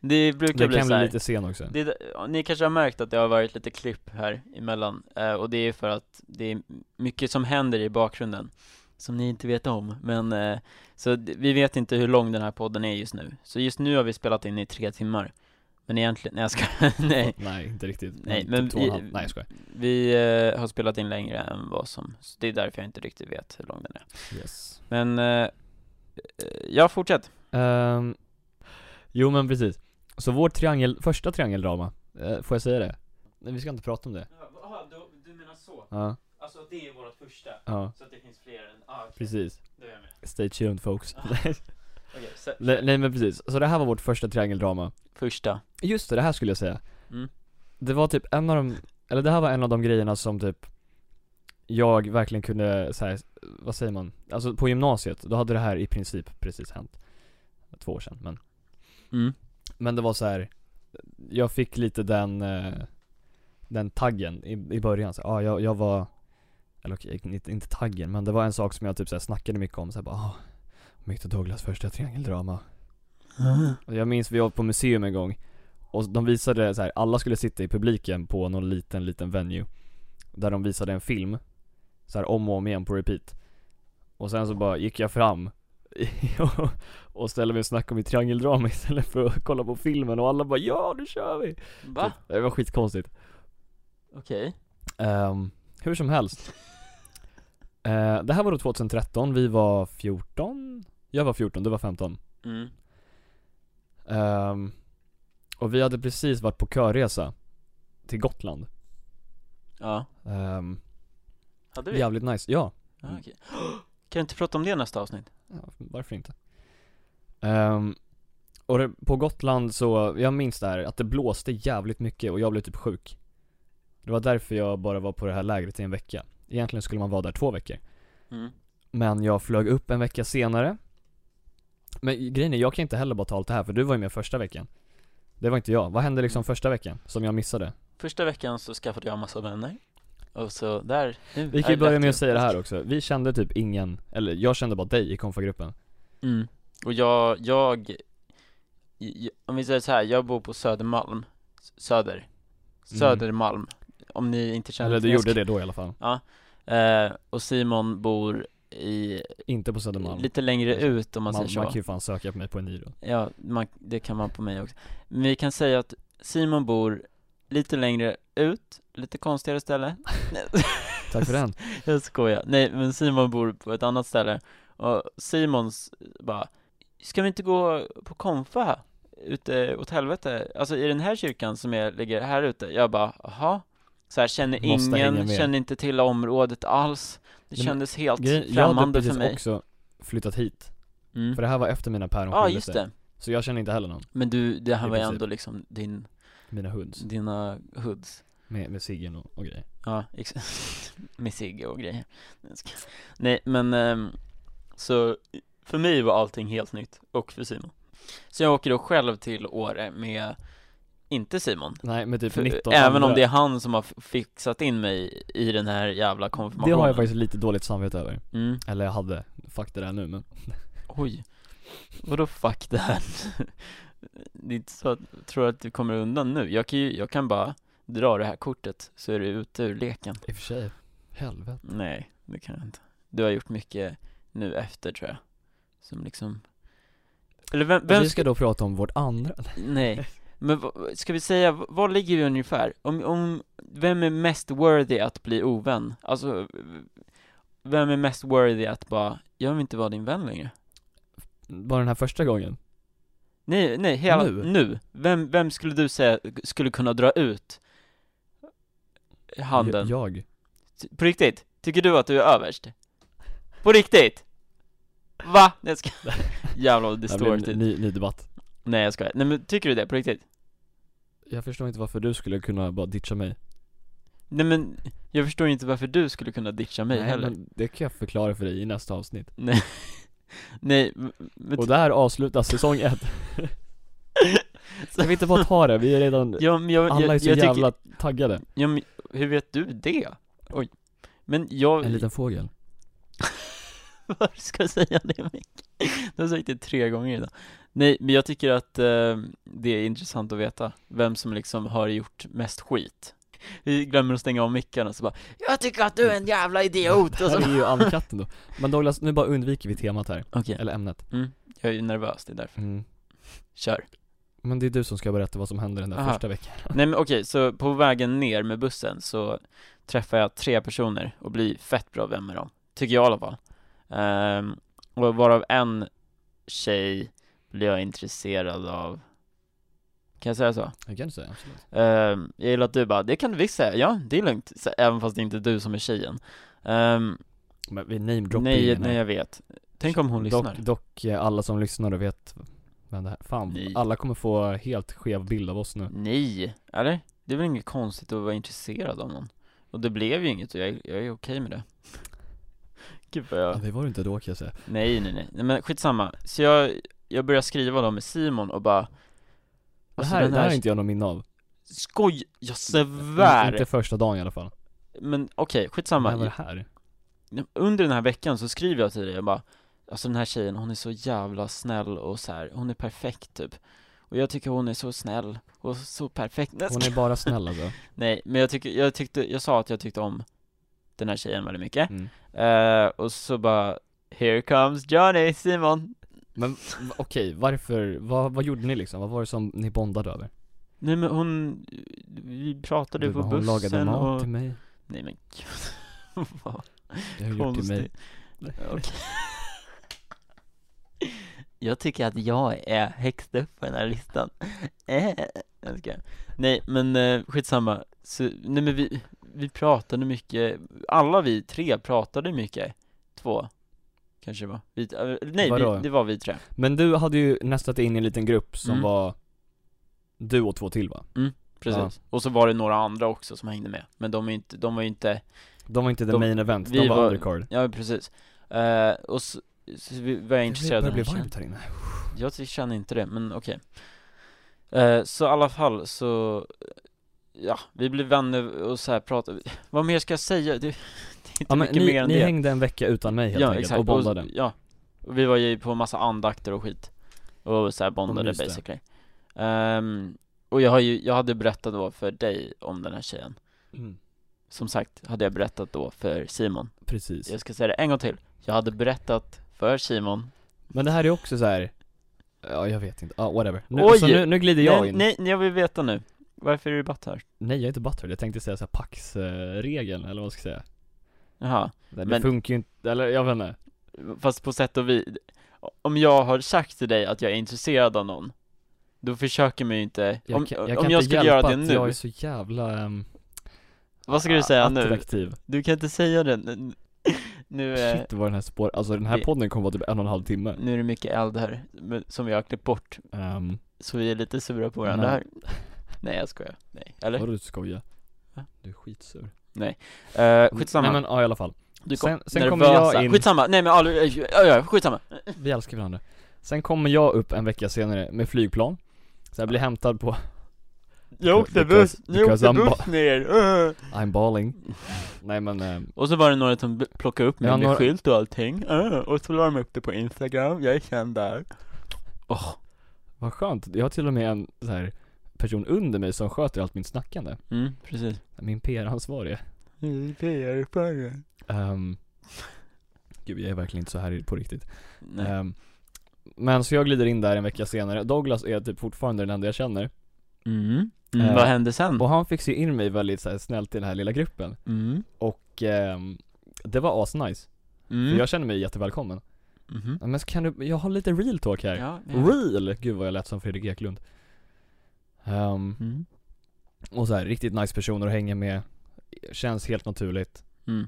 Speaker 1: Det brukar
Speaker 2: det Det
Speaker 1: bli
Speaker 2: kan
Speaker 1: så
Speaker 2: bli
Speaker 1: här.
Speaker 2: lite sen också
Speaker 1: Det, ja, ni kanske har märkt att det har varit lite klipp här emellan, eh, och det är för att det är mycket som händer i bakgrunden som ni inte vet om, men eh, så d- vi vet inte hur lång den här podden är just nu. Så just nu har vi spelat in i tre timmar, men egentligen, nej jag ska, nej.
Speaker 2: Nej inte riktigt
Speaker 1: Nej,
Speaker 2: typ
Speaker 1: men
Speaker 2: två och en
Speaker 1: i-
Speaker 2: halv. Nej jag skojar
Speaker 1: Vi eh, har spelat in längre än vad som, så det är därför jag inte riktigt vet hur lång den är.
Speaker 2: yes.
Speaker 1: Men, eh, jag fortsätt.
Speaker 2: Ehm, Jo men precis Så vårt triangel, första triangeldrama eh, Får jag säga det? Nej vi ska inte prata om det
Speaker 1: Jaha, du menar så?
Speaker 2: Ja,
Speaker 1: Alltså det är vårt första,
Speaker 2: ja
Speaker 1: så att det finns fler än, ah,
Speaker 2: precis
Speaker 1: då är jag med.
Speaker 2: Stay tuned folks
Speaker 1: Ah. Okej, så,
Speaker 2: Nej nej, men precis, så det här var vårt första triangeldrama
Speaker 1: första.
Speaker 2: Just det, det här skulle jag säga.
Speaker 1: Mm.
Speaker 2: Det var typ en av de, eller det här var en av de grejerna som typ jag verkligen kunde så här, vad säger man? Alltså på gymnasiet, då hade det här i princip precis hänt. Två år sedan men.
Speaker 1: Mm.
Speaker 2: Men det var så här. jag fick lite den, eh, den taggen i, i början. Så, här, ah, jag, jag var, eller okej, inte, inte taggen men det var en sak som jag typ så här, snackade mycket om. Så här, bara, ah, Victor Douglas första triangeldrama. Och Jag minns vi var på museum en gång och de visade så här, alla skulle sitta i publiken på någon liten, liten venue Där de visade en film så här om och om igen på repeat Och sen så bara gick jag fram och- och ställde mig och snackade om mitt triangeldrama istället för att kolla på filmen och alla bara 'Ja, nu kör vi!'
Speaker 1: Va?
Speaker 2: Typ. Det var skitkonstigt
Speaker 1: Okej.
Speaker 2: Ehm, Hur som helst Eh, Det här var då 2013, vi var 14 Jag var 14, du var 15
Speaker 1: Mm.
Speaker 2: Ehm, och vi hade precis varit på körresa till Gotland.
Speaker 1: Ja.
Speaker 2: Ehm,
Speaker 1: Hade vi?
Speaker 2: jävligt nice, ja.
Speaker 1: Ah, okej. Kan vi inte prata om det i nästa avsnitt?
Speaker 2: ja varför inte? Ehm, och det, på Gotland så, jag minns det här, att det blåste jävligt mycket och jag blev typ sjuk. Det var därför jag bara var på det här lägret i en vecka. Egentligen skulle man vara där två veckor.
Speaker 1: Mm.
Speaker 2: Men jag flög upp en vecka senare. Men grejen är, jag kan inte heller bara ta allt det här för du var ju med första veckan. Det var inte jag. Vad hände liksom första veckan som jag missade?
Speaker 1: Första veckan så skaffade jag massa vänner. Och så där, nu
Speaker 2: Vi
Speaker 1: är
Speaker 2: kan ju
Speaker 1: det
Speaker 2: börja
Speaker 1: lätt
Speaker 2: med att
Speaker 1: ju.
Speaker 2: säga det här också, vi kände typ ingen, eller jag kände bara dig i konfagruppen
Speaker 1: Mm. Och jag, jag, j- om vi säger så här, jag bor på Södermalm. S- Söder. Södermalm. Om ni inte känner
Speaker 2: Mm. Eller du
Speaker 1: till-
Speaker 2: gjorde det då i alla fall,
Speaker 1: Eh, och Simon bor i,
Speaker 2: inte på Södermalm
Speaker 1: lite längre ut om man
Speaker 2: man,
Speaker 1: säger så.
Speaker 2: man kan ju fan söka på mig på en ny då
Speaker 1: Ja, man, det kan man på mig också. Men vi kan säga att Simon bor lite längre ut, lite konstigare ställe. Nej,
Speaker 2: Tack för den
Speaker 1: jag skojar. Nej, men Simon bor på ett annat ställe. Och Simons bara, ska vi inte gå på konfa ute åt helvete? Alltså i den här kyrkan som är, ligger här ute. Jag bara, aha. Så här, känner
Speaker 2: Måste hänga
Speaker 1: ingen,
Speaker 2: med.
Speaker 1: känner inte till området alls. Det
Speaker 2: Nej, men
Speaker 1: kändes helt
Speaker 2: Grejen- Jag hade
Speaker 1: främmande för
Speaker 2: precis
Speaker 1: mig.
Speaker 2: också flyttat hit,
Speaker 1: Mm.
Speaker 2: för det här var efter mina päron
Speaker 1: Ja,
Speaker 2: skilde
Speaker 1: just
Speaker 2: sig.
Speaker 1: det.
Speaker 2: Så jag kände inte heller någon,
Speaker 1: Men du, det här
Speaker 2: I
Speaker 1: var ju
Speaker 2: princip.
Speaker 1: ändå liksom din,
Speaker 2: mina hoods,
Speaker 1: Mm. dina hoods.
Speaker 2: med, med ciggen och, och grejer
Speaker 1: Ja, exakt. Med Sigge och grejer. Nej, jag skojar. Nej, men ehm, så för mig var allting helt nytt och för Simon. Så jag åker då själv till Åre med, inte Simon.
Speaker 2: Nej men typ
Speaker 1: För,
Speaker 2: 19
Speaker 1: även
Speaker 2: andra.
Speaker 1: om det är han som har f- fixat in mig i den här jävla
Speaker 2: Det
Speaker 1: konfirmationen.
Speaker 2: har jag faktiskt lite dåligt samvete över,
Speaker 1: Mm.
Speaker 2: eller jag hade, fuck det där nu men
Speaker 1: Oj. Vadå fuck det här? Det är inte så att, tror du att du kommer undan nu? Jag kan ju, jag kan bara dra det här kortet så är du ute ur leken.
Speaker 2: I och för sig, helvete
Speaker 1: Nej, det kan jag inte. Du har gjort mycket nu efter tror jag. Som liksom Eller vem, vem
Speaker 2: Vi ska då prata om vårt andra
Speaker 1: Nej, men vad- ska vi säga, v- var ligger vi ungefär? Om, om, vem är mest worthy att bli ovän? Alltså, vem är mest worthy att bara, jag vill inte vara din vän längre?
Speaker 2: Bara den här första gången
Speaker 1: Nej, nej, hela,
Speaker 2: Nu?
Speaker 1: nu, Vem, vem skulle du säga skulle kunna dra ut handen?
Speaker 2: Jag,
Speaker 1: Ty- På riktigt? Tycker du att du är överst? På riktigt? Va? Nej, jag ska... Jävlar vad det
Speaker 2: jag
Speaker 1: står
Speaker 2: blir en
Speaker 1: typ.
Speaker 2: ny, ny debatt
Speaker 1: Nej jag skojar. Nej men tycker du det på riktigt?
Speaker 2: Jag förstår inte varför du skulle kunna bara ditcha mig
Speaker 1: Nej men, jag förstår inte varför du skulle kunna ditcha mig
Speaker 2: Nej,
Speaker 1: heller.
Speaker 2: men det kan jag förklara för dig i nästa avsnitt
Speaker 1: Nej. Nej, m- men
Speaker 2: Och där avslutas säsong ett Kan vi inte bara ta det? Vi är redan,
Speaker 1: Ja, men jag,
Speaker 2: alla är
Speaker 1: jag,
Speaker 2: så
Speaker 1: jag
Speaker 2: jävla
Speaker 1: tycker,
Speaker 2: taggade
Speaker 1: ja, men hur vet du det? Oj Men jag,
Speaker 2: En liten fågel
Speaker 1: Varför ska jag säga det Micke? Du har sagt det tre gånger idag Nej, men jag tycker att eh, det är intressant att veta vem som liksom har gjort mest skit Vi glömmer att stänga av mickarna så bara Jag tycker att du är en jävla idiot!
Speaker 2: Det
Speaker 1: Och så
Speaker 2: här är ju andkatten då Men Douglas, nu bara undviker vi temat här,
Speaker 1: Okej,
Speaker 2: eller ämnet
Speaker 1: jag är ju nervös, det är därför
Speaker 2: mm.
Speaker 1: Kör
Speaker 2: Men det är du som ska berätta vad som hände den där
Speaker 1: Aha.
Speaker 2: första veckan
Speaker 1: Nej men okej, så på vägen ner med bussen så träffar jag tre personer och blir fett bra vän med dem, tycker jag i alla fall. Ehm, och varav en tjej blir jag intresserad av, kan jag säga så?
Speaker 2: Det kan du säga, absolut
Speaker 1: Ehm, jag gillar att du bara, det kan du visst säga, ja det är lugnt, så, även fast det inte är du som är tjejen. Ehm,
Speaker 2: Men vi namedroppar
Speaker 1: nej,
Speaker 2: ingen här.
Speaker 1: nej jag vet. Tänk om hon lyssnar.
Speaker 2: Dock, dock eh, alla som lyssnar och vet vem det här, fan
Speaker 1: Nej.
Speaker 2: alla kommer få helt skev bild av oss nu
Speaker 1: Nej, eller? Det är väl inget konstigt att vara intresserad av någon? Och det blev ju inget och jag, jag är okej med det Gud vad jag...
Speaker 2: det var det inte då kan jag säga
Speaker 1: Nej, nej, nej, nej men skitsamma Så jag, jag började skriva då med Simon och bara
Speaker 2: Det
Speaker 1: Alltså
Speaker 2: här,
Speaker 1: den
Speaker 2: det här
Speaker 1: här,
Speaker 2: är inte jag någon minne av
Speaker 1: skoj, jag svär!
Speaker 2: Inte första dagen i alla fall
Speaker 1: Men okej,
Speaker 2: Samma.
Speaker 1: skitsamma
Speaker 2: var det här?
Speaker 1: under den här veckan så skriver jag till dig, jag bara Alltså den här tjejen, hon är så jävla snäll och så här, hon är perfekt typ Och jag tycker hon är så snäll och så perfekt Nej, jag
Speaker 2: Hon är bara snäll alltså
Speaker 1: Nej, men jag, tycker, jag tyckte, jag sa att jag tyckte om den här tjejen väldigt mycket,
Speaker 2: mm.
Speaker 1: eh, och så bara Here comes Johnny, Simon!
Speaker 2: Men v- okej, varför, vad, vad gjorde ni liksom? Vad var det som ni bondade över?
Speaker 1: Nej men hon, vi pratade
Speaker 2: Du
Speaker 1: på
Speaker 2: bara, hon
Speaker 1: bussen
Speaker 2: lagade mat
Speaker 1: och...
Speaker 2: till mig
Speaker 1: Nej men gud, vad
Speaker 2: Det har hon gjort till mig
Speaker 1: konstigt Okej. Jag tycker att jag är högst upp på den här listan eh, jag skojar. Nej men eh, skitsamma, så, nej men vi, vi pratade mycket, alla vi tre pratade mycket Två, kanske det var, vi, eh, nej
Speaker 2: Vadå?
Speaker 1: vi, det var vi tre
Speaker 2: Men du hade ju nästat in i en liten grupp som
Speaker 1: Mm.
Speaker 2: var Du och två till va?
Speaker 1: Precis, och så var det några andra också som hängde med, men de, är inte, de var ju inte,
Speaker 2: De var inte the
Speaker 1: De-
Speaker 2: main event,
Speaker 1: vi
Speaker 2: de var,
Speaker 1: var-
Speaker 2: undercard
Speaker 1: ja precis Eh, Och så, så vi var jag intresserad av
Speaker 2: Det
Speaker 1: den här
Speaker 2: börjar bli
Speaker 1: tjejen.
Speaker 2: varmt här inne
Speaker 1: Jag ty- känner inte det, men okej Eh, Så i alla fall så eh, Ja, vi blev vänner och så här pratade Vad mer ska jag säga? Det, det är inte
Speaker 2: Ja, men
Speaker 1: mycket mer
Speaker 2: ni,
Speaker 1: än
Speaker 2: ni
Speaker 1: det
Speaker 2: hängde en vecka utan mig helt
Speaker 1: Ja,
Speaker 2: enkelt
Speaker 1: exakt
Speaker 2: och bondade
Speaker 1: Ja, och vi var ju på massa andakter och skit Och så här bondade
Speaker 2: just det.
Speaker 1: basically Ehm, Och jag har ju, jag hade berättat då för dig om den här tjejen
Speaker 2: mm.
Speaker 1: Som sagt, hade jag berättat då för Simon
Speaker 2: Precis
Speaker 1: Jag ska säga det en gång till Jag hade berättat för Simon
Speaker 2: Men det här är också så här. Ja jag vet inte, ja whatever nu,
Speaker 1: Oj!
Speaker 2: Så nu, nu glider jag
Speaker 1: nej,
Speaker 2: in
Speaker 1: nej, jag vill veta nu Varför är du batt här?
Speaker 2: Nej, jag är inte butthurt, jag tänkte säga såhär Pax-regeln eller vad man ska säga
Speaker 1: Jaha
Speaker 2: Det
Speaker 1: Men-
Speaker 2: funkar ju inte, eller jag vet inte
Speaker 1: Fast på sätt och vis, om jag har sagt till dig att jag är intresserad av någon, då försöker man ju inte,
Speaker 2: Jag
Speaker 1: om
Speaker 2: kan,
Speaker 1: jag,
Speaker 2: jag
Speaker 1: om
Speaker 2: kan
Speaker 1: jag
Speaker 2: inte
Speaker 1: skulle göra
Speaker 2: hjälpa
Speaker 1: det
Speaker 2: att
Speaker 1: nu,
Speaker 2: jag är så jävla um,
Speaker 1: vad ska du säga nu?
Speaker 2: attraktiv.
Speaker 1: Du kan inte säga det nu, nu är,
Speaker 2: Shit vad den här spår, alltså den här
Speaker 1: Det-
Speaker 2: podden kommer vara typ en och en halv timme
Speaker 1: nu är det mycket eld här, men- som jag har klippt bort,
Speaker 2: um,
Speaker 1: så vi är lite sura på varandra
Speaker 2: Nej.
Speaker 1: här Nej jag skojar, nej, eller?
Speaker 2: Vadå du skojar?
Speaker 1: Va?
Speaker 2: Du är skitsur
Speaker 1: Uh, skitsamma,
Speaker 2: Nej men ja i alla fall,
Speaker 1: du kom,
Speaker 2: sen, sen kommer
Speaker 1: nervösa,
Speaker 2: jag in,
Speaker 1: skitsamma, nej men aldrig, äh, äh, äh, skitsamma
Speaker 2: vi älskar varandra Sen kommer jag upp en vecka senare med flygplan Så jag blir hämtad på
Speaker 1: Jag
Speaker 2: åkte
Speaker 1: åkte
Speaker 2: Because-
Speaker 1: buss,
Speaker 2: buss- jag
Speaker 1: jag
Speaker 2: because
Speaker 1: åkte
Speaker 2: åkte I'm buss
Speaker 1: buss ner,
Speaker 2: I'm balling Nej men, ehm,
Speaker 1: Och så var det några som b- plockade upp mig
Speaker 2: Ja,
Speaker 1: med
Speaker 2: några-
Speaker 1: skylt och allting, Ah, och så la de upp det på instagram, jag är känd där Åh,
Speaker 2: vad skönt, jag har till och med en så här person under mig som sköter allt mitt snackande
Speaker 1: mm, precis
Speaker 2: Min PR-ansvarige
Speaker 1: PR-förare
Speaker 2: um, Gud jag är verkligen inte så här på riktigt
Speaker 1: Nej,
Speaker 2: Ehm, Men så jag glider in där en vecka senare, Douglas är typ fortfarande den enda jag känner
Speaker 1: mm. Mm,
Speaker 2: eh,
Speaker 1: vad hände sen?
Speaker 2: Och han fick se in mig väldigt så här, snällt i den här lilla gruppen
Speaker 1: Mm,
Speaker 2: Och ehm, det var asnice,
Speaker 1: mm,
Speaker 2: för jag känner mig jättevälkommen
Speaker 1: mhm.
Speaker 2: Ja, Men så kan du, jag har lite real talk här
Speaker 1: Ja, ja.
Speaker 2: Real! Gud vad jag lät som Fredrik Eklund Ehm,
Speaker 1: Mm.
Speaker 2: Och så här, riktigt nice personer att hänga med Känns helt naturligt
Speaker 1: Mm.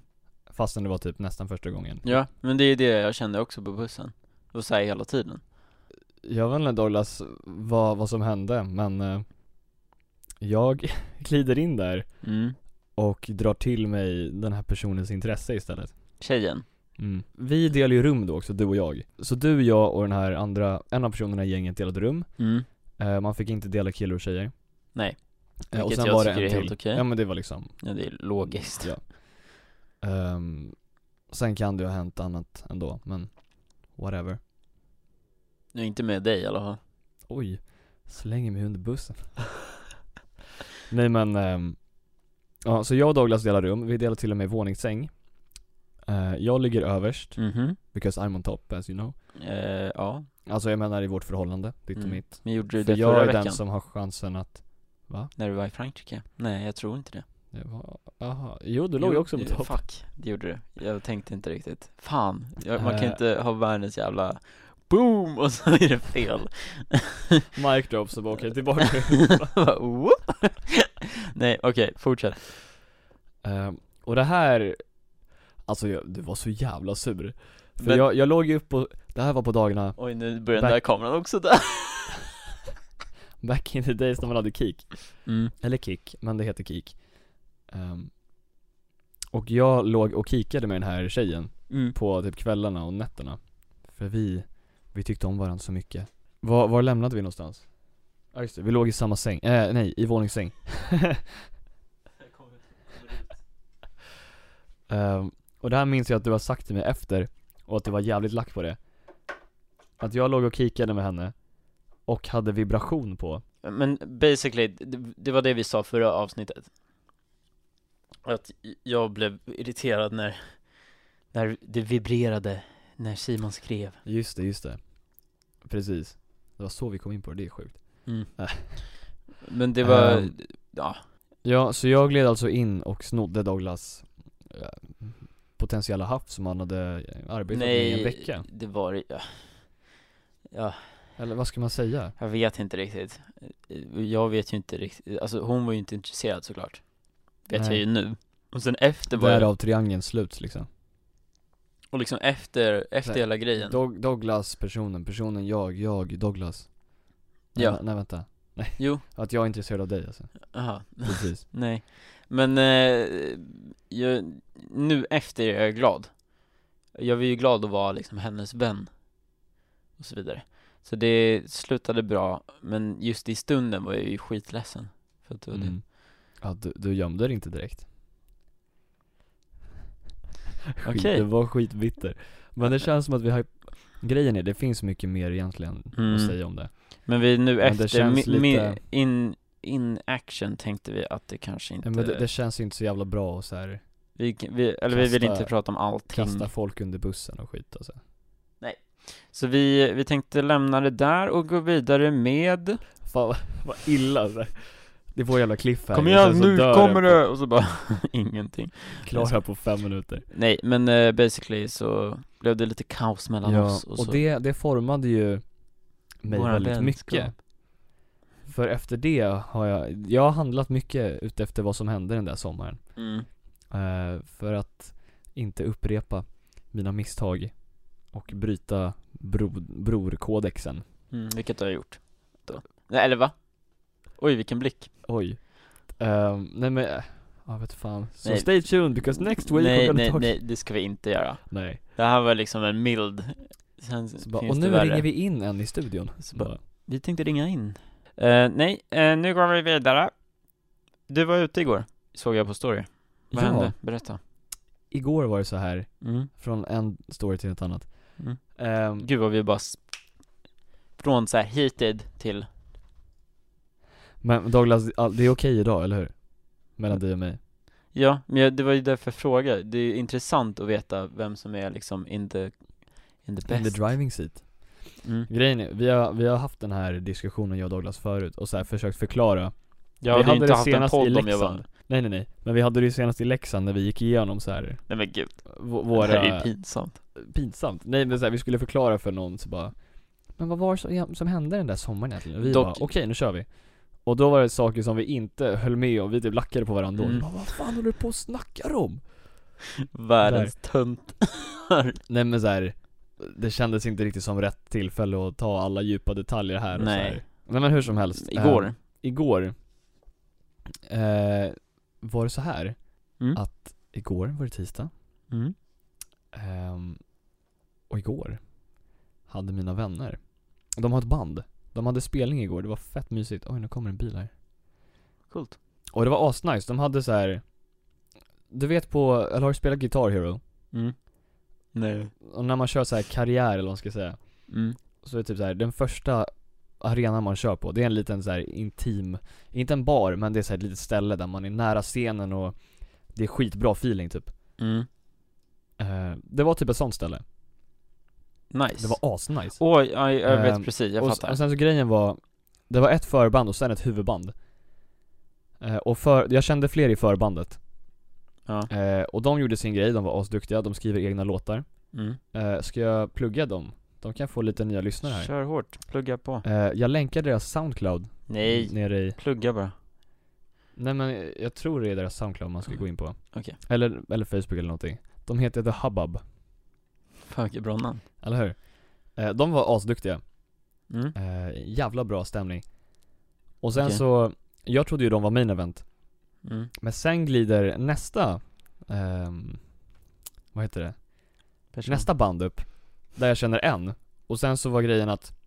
Speaker 2: Fastän det var typ nästan första gången
Speaker 1: ja, men det är det jag kände också på bussen, och så här hela tiden
Speaker 2: Jag vet inte Douglas vad, vad som hände men eh, Jag glider in där
Speaker 1: mm.
Speaker 2: och drar till mig den här personens intresse istället
Speaker 1: Tjejen,
Speaker 2: mm. Vi delar ju rum då också, du och jag Så du, jag och den här andra, en av personerna i gänget delade rum
Speaker 1: mm.
Speaker 2: Eh, man fick inte dela killar och tjejer.
Speaker 1: Nej.
Speaker 2: Eh, och
Speaker 1: Vilket
Speaker 2: sen
Speaker 1: jag
Speaker 2: var det
Speaker 1: tycker
Speaker 2: en
Speaker 1: är
Speaker 2: till.
Speaker 1: helt okej.
Speaker 2: Ja men det var liksom
Speaker 1: Ja, det är logiskt.
Speaker 2: Ja. Ehm, sen kan det ju ha hänt annat ändå, men whatever.
Speaker 1: Nu inte med dig i alla fall.
Speaker 2: Oj, slänger mig under bussen. Nej men, ehm, ja, så jag och Douglas delar rum, vi delar till och med våningssäng. Eh, jag ligger överst,
Speaker 1: Mhm.
Speaker 2: because I'm on top as you know.
Speaker 1: Eh, ja.
Speaker 2: Alltså jag menar i vårt förhållande, ditt och
Speaker 1: Mm.
Speaker 2: mitt.
Speaker 1: Men gjorde du
Speaker 2: För
Speaker 1: det
Speaker 2: jag
Speaker 1: förra
Speaker 2: är
Speaker 1: veckan?
Speaker 2: den som har chansen att,
Speaker 1: När du var i Frankrike? Nej, jag tror inte det.
Speaker 2: det var- aha, jo du låg ju också på
Speaker 1: eh,
Speaker 2: topp.
Speaker 1: Fuck, det gjorde du. Jag tänkte inte riktigt. Fan, jag, man kan
Speaker 2: Eh.
Speaker 1: ju inte ha världens jävla boom och så är det fel.
Speaker 2: Mic drop så bara okej, tillbaka.
Speaker 1: Bara, whoop. Nej, okej, fortsätt.
Speaker 2: Ehm, och det här, alltså jag, du var så jävla sur. För
Speaker 1: Men-
Speaker 2: jag, jag låg ju upp på, det här var på dagarna
Speaker 1: Oj, nu börjar
Speaker 2: Back-
Speaker 1: den där kameran också där.
Speaker 2: back in the days när man hade kick.
Speaker 1: Mm.
Speaker 2: Eller kick, men det heter kick. Ehm, och jag låg och kikade med den här tjejen
Speaker 1: Mm.
Speaker 2: på typ kvällarna och nätterna. För vi, vi tyckte om varandra så mycket. Var, var lämnade vi någonstans? Ja just det, vi låg i samma säng, eh, nej i våningssäng. Ehm, och det här minns jag att du har sagt till mig efter, och att du var jävligt lack på det. Att jag låg och kikade med henne, och hade vibration på.
Speaker 1: Men basically, det, det var det vi sa förra avsnittet. Att jag blev irriterad när, när det vibrerade när Simon skrev.
Speaker 2: Just det, just det. Precis. Det var så vi kom in på det, det är sjukt.
Speaker 1: Men det var,
Speaker 2: Ehm.
Speaker 1: ja,
Speaker 2: Ja, så jag gled alltså in och snodde Douglas eh, potentiella haft som han hade eh, arbetat med i en vecka.
Speaker 1: det var det- ja. ja,
Speaker 2: Eller vad ska man säga?
Speaker 1: jag vet inte riktigt Jag vet ju inte riktigt, alltså hon var ju inte intresserad såklart Vet jag
Speaker 2: Nej.
Speaker 1: ju nu Och sen efter var jag,
Speaker 2: Därav triangeln sluts liksom.
Speaker 1: och liksom efter, efter
Speaker 2: Nej,
Speaker 1: hela grejen
Speaker 2: Dog, Douglas, personen, personen, jag, jag, Douglas. Nej,
Speaker 1: Ja.
Speaker 2: vä- Nej vänta. Nej.
Speaker 1: Jo.
Speaker 2: Att jag är intresserad av dig alltså.
Speaker 1: Aha,
Speaker 2: Precis.
Speaker 1: nej Men, eh, jag, nu efter är jag glad Jag var ju glad att vara liksom hennes vän Och så vidare Så det slutade bra, men just i stunden var jag ju skitledsen För att det var det
Speaker 2: Mm. Ja, du, du gömde dig inte direkt. Skit-
Speaker 1: Okej.
Speaker 2: Du var skitbitter. Men det känns som att vi har, grejen är, det finns mycket mer egentligen
Speaker 1: Mm.
Speaker 2: att säga om det.
Speaker 1: Men vi nu
Speaker 2: Men det
Speaker 1: efter,
Speaker 2: känns
Speaker 1: mi, mi,
Speaker 2: lite-
Speaker 1: in, in action tänkte vi att det kanske inte, Mm.
Speaker 2: Nej, Men det, det känns ju inte så jävla bra att så här
Speaker 1: vi, vi, eller vi vill
Speaker 2: kasta-
Speaker 1: inte prata om allting
Speaker 2: kasta folk under bussen och skit alltså.
Speaker 1: Så vi, vi tänkte lämna det där och gå vidare med
Speaker 2: Fan vad, vad illa alltså. Det är vår jävla cliffhanger.
Speaker 1: Kom igen
Speaker 2: Sen så
Speaker 1: nu
Speaker 2: dör
Speaker 1: kommer
Speaker 2: på-
Speaker 1: det! Och så bara, ingenting
Speaker 2: Klara på fem minuter.
Speaker 1: Nej men eh, basically så blev det lite kaos mellan
Speaker 2: Ja,
Speaker 1: oss
Speaker 2: och,
Speaker 1: och, så
Speaker 2: det, det formade ju mig
Speaker 1: Våra
Speaker 2: väldigt
Speaker 1: vänskap.
Speaker 2: mycket. För efter det har jag, jag har handlat mycket utefter vad som hände den där sommaren.
Speaker 1: mm.
Speaker 2: Eh, för att inte upprepa mina misstag och bryta bro, brorkodexen.
Speaker 1: Mm, Vilket du har gjort då. Nej eller va? Oj vilken blick
Speaker 2: Oj. Ehm, nej men, eh, ja vet fan. Så
Speaker 1: Nej.
Speaker 2: stay tuned because next week we're
Speaker 1: Nej
Speaker 2: gonna
Speaker 1: nej
Speaker 2: talk...
Speaker 1: nej, det ska vi inte göra
Speaker 2: nej.
Speaker 1: Det här var liksom en mild Sen
Speaker 2: Så bara,
Speaker 1: finns
Speaker 2: och
Speaker 1: det
Speaker 2: nu
Speaker 1: värre.
Speaker 2: ringer vi in en i studion.
Speaker 1: Så
Speaker 2: Så
Speaker 1: bara-
Speaker 2: bara,
Speaker 1: Vi tänkte ringa in. Eh, nej, eh, nu går vi vidare. Du var ute igår, såg jag på story. Vad
Speaker 2: Ja.
Speaker 1: hände? Berätta.
Speaker 2: igår var det så här,
Speaker 1: Mm.
Speaker 2: från en story till ett annat.
Speaker 1: Mm.
Speaker 2: Ehm,
Speaker 1: Gud vad vi bara s- från så här heated till,
Speaker 2: men Douglas, all- det är okej idag, eller hur? Mellan dig och mig.
Speaker 1: ja, men jag, det var ju därför jag frågade. Det är ju intressant att veta vem som är liksom in the, in the
Speaker 2: In the
Speaker 1: best.
Speaker 2: driving seat.
Speaker 1: Mm.
Speaker 2: Grejen är, vi har, vi har haft den här diskussionen jag och Douglas förut och så här försökt förklara.
Speaker 1: Jag
Speaker 2: vi
Speaker 1: hade ju inte
Speaker 2: det
Speaker 1: haft en
Speaker 2: senast i
Speaker 1: podd om jag var,
Speaker 2: Leksand. Nej nej nej, men vi hade det ju senast i Leksand när vi gick igenom så här
Speaker 1: nej men gud,
Speaker 2: v-
Speaker 1: det här är
Speaker 2: våra
Speaker 1: ju pinsamt.
Speaker 2: pinsamt. Nej men så här, vi skulle förklara för någon så bara Men vad var det som, som hände den där sommaren egentligen? Och vi
Speaker 1: Dock-
Speaker 2: bara, okej nu kör vi Och då var det saker som vi inte höll med om, vi typ lackade på varandra och
Speaker 1: Mm.
Speaker 2: vi bara, Vad fan håller du på och snackar om?
Speaker 1: Världens tönt.
Speaker 2: Nej men så här, det kändes inte riktigt som rätt tillfälle att ta alla djupa detaljer här och
Speaker 1: Nej.
Speaker 2: Så här. Nej men hur som helst
Speaker 1: Igår.
Speaker 2: Eh, Igår eh, Var det så här
Speaker 1: Mm.
Speaker 2: Att igår var det tisdag
Speaker 1: Mm.
Speaker 2: Ehm, och igår hade mina vänner, de har ett band De hade spelning igår, det var fett mysigt. Oj, nu kommer en bil här.
Speaker 1: Coolt.
Speaker 2: Och det var asnice, de hade så här. Du vet på, eller har du spelat Guitar Hero?
Speaker 1: Mm. Nej.
Speaker 2: Och när man kör så här karriär eller vad man ska säga
Speaker 1: Mm.
Speaker 2: Så är det typ så här, den första arenan man kör på, det är en liten så här intim, inte en bar men det är så här ett litet ställe där man är nära scenen och det är skitbra feeling typ
Speaker 1: Mm.
Speaker 2: Eh, Det var typ ett sånt ställe,
Speaker 1: Nice.
Speaker 2: det var asnice
Speaker 1: Oj, ja, jag vet
Speaker 2: Ehm,
Speaker 1: precis, jag
Speaker 2: och, s-
Speaker 1: fattar.
Speaker 2: och sen så grejen var, det var ett förband och sen ett huvudband Eh, Och för, jag kände fler i förbandet
Speaker 1: ja.
Speaker 2: Eh, Och de gjorde sin grej, de var asduktiga, de skriver egna låtar
Speaker 1: Mm.
Speaker 2: Eh, Ska jag plugga dem? De kan få lite nya lyssnare här
Speaker 1: Kör hårt, plugga på.
Speaker 2: Eh, Jag länkar deras Soundcloud
Speaker 1: Nej,
Speaker 2: nere i
Speaker 1: plugga bara.
Speaker 2: Nej men jag tror det är deras Soundcloud man ska gå in på
Speaker 1: Ah, Okej.
Speaker 2: Eller, eller Facebook eller någonting De heter The Hubbub,
Speaker 1: Fan vilket bra namn.
Speaker 2: eller hur? Eh, de var asduktiga,
Speaker 1: Mm.
Speaker 2: eh, jävla bra stämning Och sen
Speaker 1: Okej.
Speaker 2: så, jag trodde ju de var main event
Speaker 1: Mm.
Speaker 2: Men sen glider nästa, ehm, vad heter det?
Speaker 1: Person.
Speaker 2: Nästa band upp Där jag känner en Och sen så var grejen att,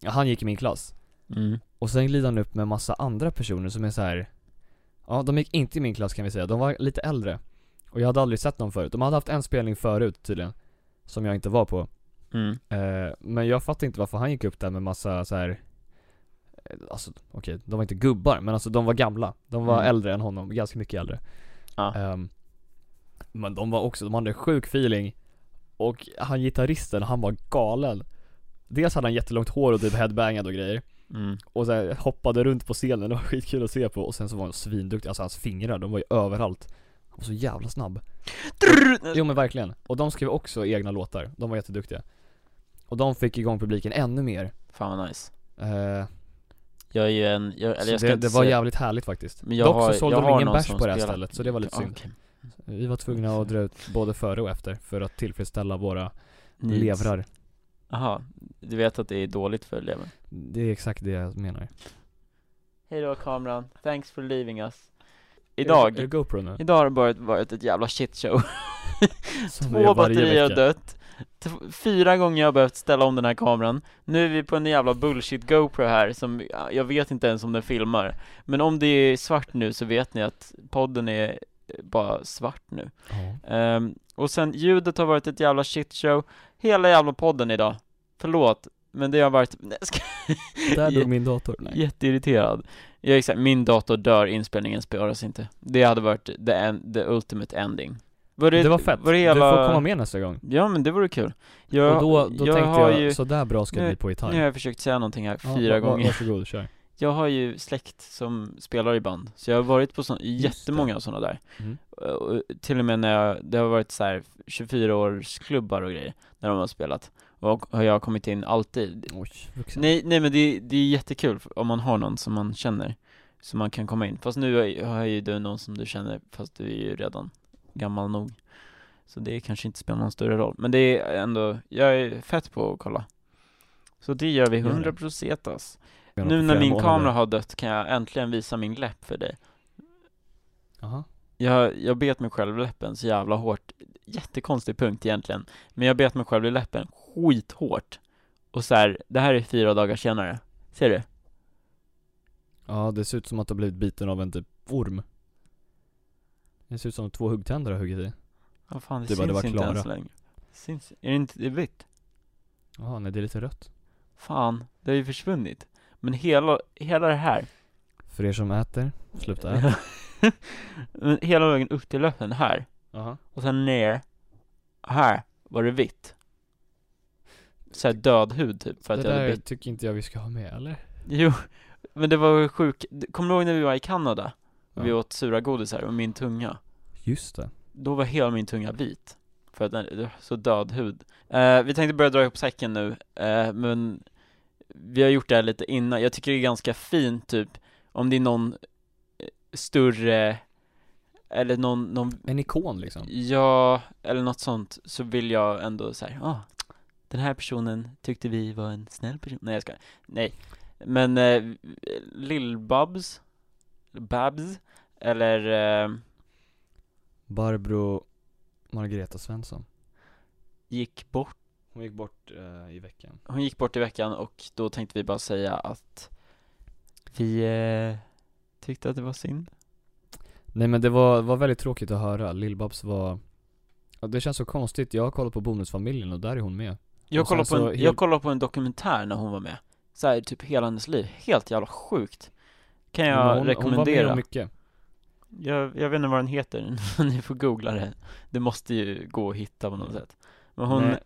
Speaker 2: ja, han gick i min klass
Speaker 1: Mm.
Speaker 2: Och sen glider han upp med massa andra personer som är så här. Ja, de gick inte i min klass kan vi säga, de var lite äldre Och jag hade aldrig sett dem förut, de hade haft en spelning förut tydligen Som jag inte var på
Speaker 1: Mm.
Speaker 2: eh, Men jag fattar inte varför han gick upp där med massa så här. eh, Alltså okej, de var inte gubbar men alltså de var gamla De var
Speaker 1: Mm.
Speaker 2: äldre än honom, ganska mycket äldre
Speaker 1: Ja.
Speaker 2: Ehm, Men de var också, de hade sjuk feeling Och han gitarristen, han var galen Dels hade han jättelångt hår och typ headbangad och grejer
Speaker 1: Mm.
Speaker 2: och så här, hoppade runt på scenen, det var skitkul att se på och sen så var han svinduktig, alltså hans fingrar, de var ju överallt Han var så jävla snabb Jo men verkligen, och de skrev också egna låtar, de var jätteduktiga Och de fick igång publiken ännu mer
Speaker 1: Fan vad nice.
Speaker 2: eh,
Speaker 1: Jag är ju en, jag, eller
Speaker 2: så
Speaker 1: jag ska
Speaker 2: det,
Speaker 1: inte
Speaker 2: det var
Speaker 1: säga-
Speaker 2: jävligt härligt faktiskt
Speaker 1: men jag
Speaker 2: Dock
Speaker 1: har-
Speaker 2: så sålde
Speaker 1: jag
Speaker 2: de
Speaker 1: har
Speaker 2: ingen
Speaker 1: någon
Speaker 2: bärs
Speaker 1: som
Speaker 2: på det här
Speaker 1: spelar.
Speaker 2: stället, så det var lite
Speaker 1: Ja,
Speaker 2: synd
Speaker 1: okej.
Speaker 2: Vi var tvungna att dra ut både före och efter för att tillfredsställa våra
Speaker 1: Needs.
Speaker 2: levrar
Speaker 1: Jaha, du vet att det är dåligt för levern?
Speaker 2: Det är exakt det jag menar
Speaker 1: Hej då kameran, thanks for leaving us
Speaker 2: Är det
Speaker 1: Idag,
Speaker 2: GoPro nu?
Speaker 1: idag har det bara varit ett jävla shitshow
Speaker 2: Som det är
Speaker 1: Två
Speaker 2: varje
Speaker 1: batterier har
Speaker 2: vecka.
Speaker 1: dött T- Fyra gånger har jag behövt ställa om den här kameran Nu är vi på en jävla bullshit GoPro här som, ja, jag vet inte ens om den filmar Men om det är svart nu så vet ni att podden är eh, bara svart nu
Speaker 2: Ja.
Speaker 1: Ehm, och sen ljudet har varit ett jävla shitshow Hela jävla podden idag Förlåt, men det har varit Nej, jag ska-
Speaker 2: Där
Speaker 1: Jä-
Speaker 2: dog min dator, nej
Speaker 1: jätteirriterad Jag är såhär, min dator dör, inspelningen spelas inte Det hade varit the, en, the ultimate ending Var
Speaker 2: Det var fett,
Speaker 1: var det
Speaker 2: du
Speaker 1: hela...
Speaker 2: får komma med nästa gång
Speaker 1: Ja men det vore kul jag,
Speaker 2: och då, då
Speaker 1: jag
Speaker 2: tänkte
Speaker 1: har
Speaker 2: jag,
Speaker 1: ju,
Speaker 2: sådär bra ska det bli på gitarr
Speaker 1: nu har jag försökt säga någonting här
Speaker 2: Ja,
Speaker 1: fyra
Speaker 2: va- va-
Speaker 1: gånger
Speaker 2: Varsågod, kör
Speaker 1: Jag har ju släkt som spelar i band, så jag har varit på sån, jättemånga sådana där Eh,
Speaker 2: Mm.
Speaker 1: och till och med när jag, det har varit så här 24-årsklubbar och grejer, när de har spelat, och har jag kommit in alltid
Speaker 2: Oj, vuxen
Speaker 1: Nej, nej men det, det är jättekul om man har någon som man känner, som man kan komma in, fast nu har ju- har ju du någon som du känner, fast du är ju redan gammal nog Så det kanske inte spelar någon större roll, men det är ändå, jag är fett på att kolla Så det gör vi
Speaker 2: Gör det.
Speaker 1: 100 procentas
Speaker 2: Jag har
Speaker 1: nu
Speaker 2: på
Speaker 1: när
Speaker 2: flera
Speaker 1: min
Speaker 2: månader.
Speaker 1: kamera har dött kan jag äntligen visa min läpp för dig
Speaker 2: Jaha,
Speaker 1: jag, jag bet mig själv i läppen så jävla hårt Jättekonstig punkt egentligen Men jag bet mig själv i läppen skithårt Och så här, det här är fyra dagar senare Ser du?
Speaker 2: ja det ser ut som att du har blivit biten av en typ orm Det ser ut som två huggtänder har huggit i
Speaker 1: Vad fan, det
Speaker 2: Du
Speaker 1: syns
Speaker 2: bara, det var
Speaker 1: inte
Speaker 2: Klara.
Speaker 1: ens längre syns, Är det inte, det är vitt?
Speaker 2: Jaha, nej det är lite rött
Speaker 1: Fan, det har ju försvunnit Men hela, hela det här
Speaker 2: För er som äter, sluta äta
Speaker 1: Men Hela vägen upp till läppen här
Speaker 2: Jaha
Speaker 1: Och sen ner Här var det vitt Såhär död hud typ för
Speaker 2: Det
Speaker 1: att jag hade
Speaker 2: där
Speaker 1: bit
Speaker 2: tycker inte jag vi ska ha med eller?
Speaker 1: Jo, men det var sjukt. Kommer du ihåg när vi var i Kanada? Och vi
Speaker 2: Ja.
Speaker 1: åt sura godisar och min tunga.
Speaker 2: Just det
Speaker 1: Då var hela min tunga vit. För att den det var så död hud. Eh, vi tänkte börja dra ihop säcken nu, eh, men vi har gjort det här lite innan. Jag tycker det är ganska fint typ, om det är någon eh, större, eller någon, någon
Speaker 2: En ikon liksom
Speaker 1: Ja, eller något sånt, så vill jag ändå så här, ah, den här personen tyckte vi var en snäll person. Nej jag ska nej. Men eh, Lill-Babs, Babs, eller eh,
Speaker 2: Barbro Margareta Svensson
Speaker 1: gick bort
Speaker 2: Hon gick bort eh, i veckan.
Speaker 1: Hon gick bort i veckan och då tänkte vi bara säga att vi eh, tyckte att det var synd.
Speaker 2: Nej men det var, var väldigt tråkigt att höra, Lill-Babs var ja, Det känns så konstigt, jag har kollat på Bonusfamiljen och där är hon med
Speaker 1: Jag
Speaker 2: Och sen
Speaker 1: kollade, på en,
Speaker 2: så helt-
Speaker 1: jag kollade på en dokumentär när hon var med. Så här, typ hela hennes liv. Helt jävla sjukt. Kan
Speaker 2: Men
Speaker 1: jag
Speaker 2: hon, Hon var med
Speaker 1: rekommendera.
Speaker 2: om mycket
Speaker 1: Jag, jag vet inte vad den heter, ni får googla det Det måste ju gå att hitta på något sätt Men hon
Speaker 2: Mm. Nej.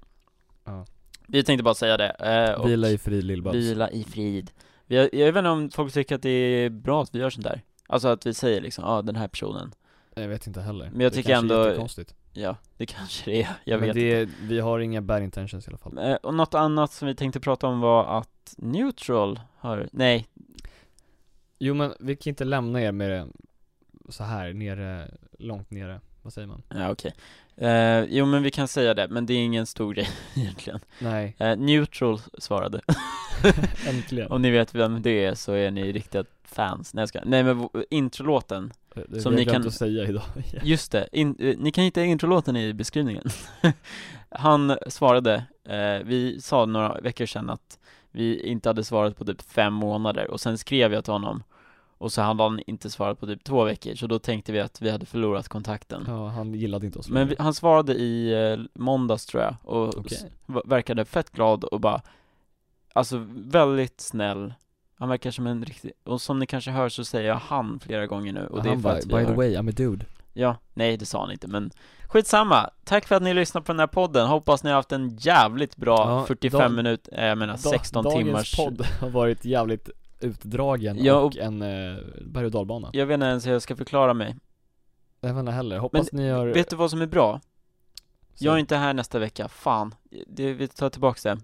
Speaker 2: Ja.
Speaker 1: Vi tänkte bara säga det, eh, och
Speaker 2: Vila i frid Lill-Babs
Speaker 1: vila i frid vi, har- Jag vet inte om folk tycker att det är bra att vi gör sånt där Alltså att vi säger liksom, ja ah, den här personen
Speaker 2: Jag vet inte heller
Speaker 1: Men jag
Speaker 2: Det
Speaker 1: tycker
Speaker 2: kanske är
Speaker 1: ändå-
Speaker 2: jättekonstigt.
Speaker 1: Ja, det kanske det är, jag
Speaker 2: Men
Speaker 1: vet
Speaker 2: det, Vi har inga bad intentions i alla fall
Speaker 1: inte Eh, Och något annat som vi tänkte prata om var att Neutral har, nej,
Speaker 2: Jo men vi kan inte lämna er med det så här nere, långt nere, vad säger man?
Speaker 1: ja okej eh, Jo men vi kan säga det, men det är ingen stor grej egentligen
Speaker 2: Nej,
Speaker 1: eh, Neutral svarade
Speaker 2: äntligen
Speaker 1: Om ni vet vem det är så är ni riktiga fans, nej jag skojar. Nej men v- introlåten,
Speaker 2: Det
Speaker 1: Som
Speaker 2: som ni
Speaker 1: ni
Speaker 2: kan
Speaker 1: kan-
Speaker 2: att säga idag
Speaker 1: just det, in, eh, ni kan hitta introlåten i beskrivningen Han svarade, eh, vi sa några veckor sedan att vi inte hade svarat på typ fem månader och sen skrev jag till honom och så hade han inte svarat på typ två veckor så då tänkte vi att vi hade förlorat kontakten
Speaker 2: Ja, han gillade inte oss
Speaker 1: Men vi, han svarade i eh, måndags tror jag och
Speaker 2: Okej.
Speaker 1: s- va- verkade fett glad och bara Alltså väldigt snäll Han verkar som en riktig, och som ni kanske hör så säger jag han flera gånger nu och det är
Speaker 2: han
Speaker 1: för
Speaker 2: bara,
Speaker 1: att vi
Speaker 2: by the
Speaker 1: har-
Speaker 2: way, I'm a dude
Speaker 1: Ja, nej det sa han inte men Skitsamma, tack för att ni lyssnar på den här podden, hoppas ni har haft en jävligt bra
Speaker 2: Ja,
Speaker 1: 45
Speaker 2: dag-
Speaker 1: minuter, eh, jag menar 16
Speaker 2: Dagens
Speaker 1: timmars
Speaker 2: podd har varit jävligt utdragen
Speaker 1: Ja,
Speaker 2: och,
Speaker 1: och-
Speaker 2: en eh, berg och dalbana.
Speaker 1: Jag vet inte ens hur jag ska förklara mig
Speaker 2: Jag vet inte heller, hoppas ni har...
Speaker 1: Vet du vad som är bra?
Speaker 2: så-
Speaker 1: Jag är inte här nästa vecka, fan. Det, vi tar tillbaks det.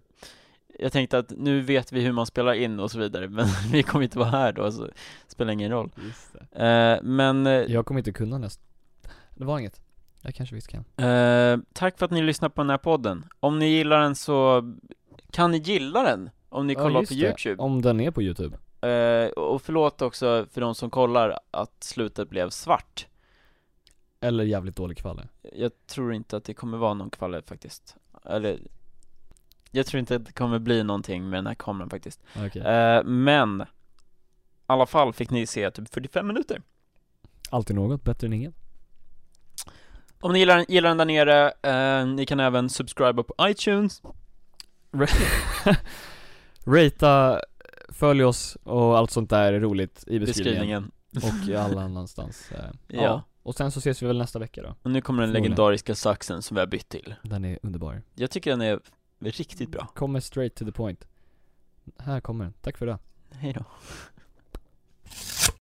Speaker 1: Jag tänkte att nu vet vi hur man spelar in och så vidare, men vi kommer inte vara här då, så det spelar ingen roll.
Speaker 2: Just det.
Speaker 1: Eh, men eh,
Speaker 2: Jag kommer inte kunna näst. Det var inget. Jag kanske visst kan.
Speaker 1: eh, tack för att ni lyssnar på den här podden. Om ni gillar den så kan ni gilla den om ni
Speaker 2: Ja,
Speaker 1: kollar
Speaker 2: just
Speaker 1: på
Speaker 2: det.
Speaker 1: YouTube.
Speaker 2: Om den är på youtube.
Speaker 1: Eh, och förlåt också för de som kollar att slutet blev svart.
Speaker 2: Eller jävligt dålig kvalle.
Speaker 1: Jag tror inte att det kommer vara någon kvalle faktiskt. Eller, jag tror inte att det kommer bli någonting med den här kameran faktiskt.
Speaker 2: Okej.
Speaker 1: Eh, men i alla fall fick ni se typ 45 minuter.
Speaker 2: Alltid något, bättre än inget.
Speaker 1: Om ni gillar, gillar den där nere, eh, ni kan även subscriba på iTunes.
Speaker 2: Rata, följ oss och allt sånt där är roligt i beskrivningen.
Speaker 1: Beskrivningen.
Speaker 2: Och i alla annanstans. eh,
Speaker 1: Ja.
Speaker 2: Och sen så ses vi väl nästa vecka då.
Speaker 1: Och nu kommer den
Speaker 2: Förmodligen.
Speaker 1: legendariska saxen som vi har bytt till.
Speaker 2: Den är underbar.
Speaker 1: Jag tycker den är riktigt bra.
Speaker 2: Kommer straight to the point. Här kommer den. Tack för det.
Speaker 1: Hej då.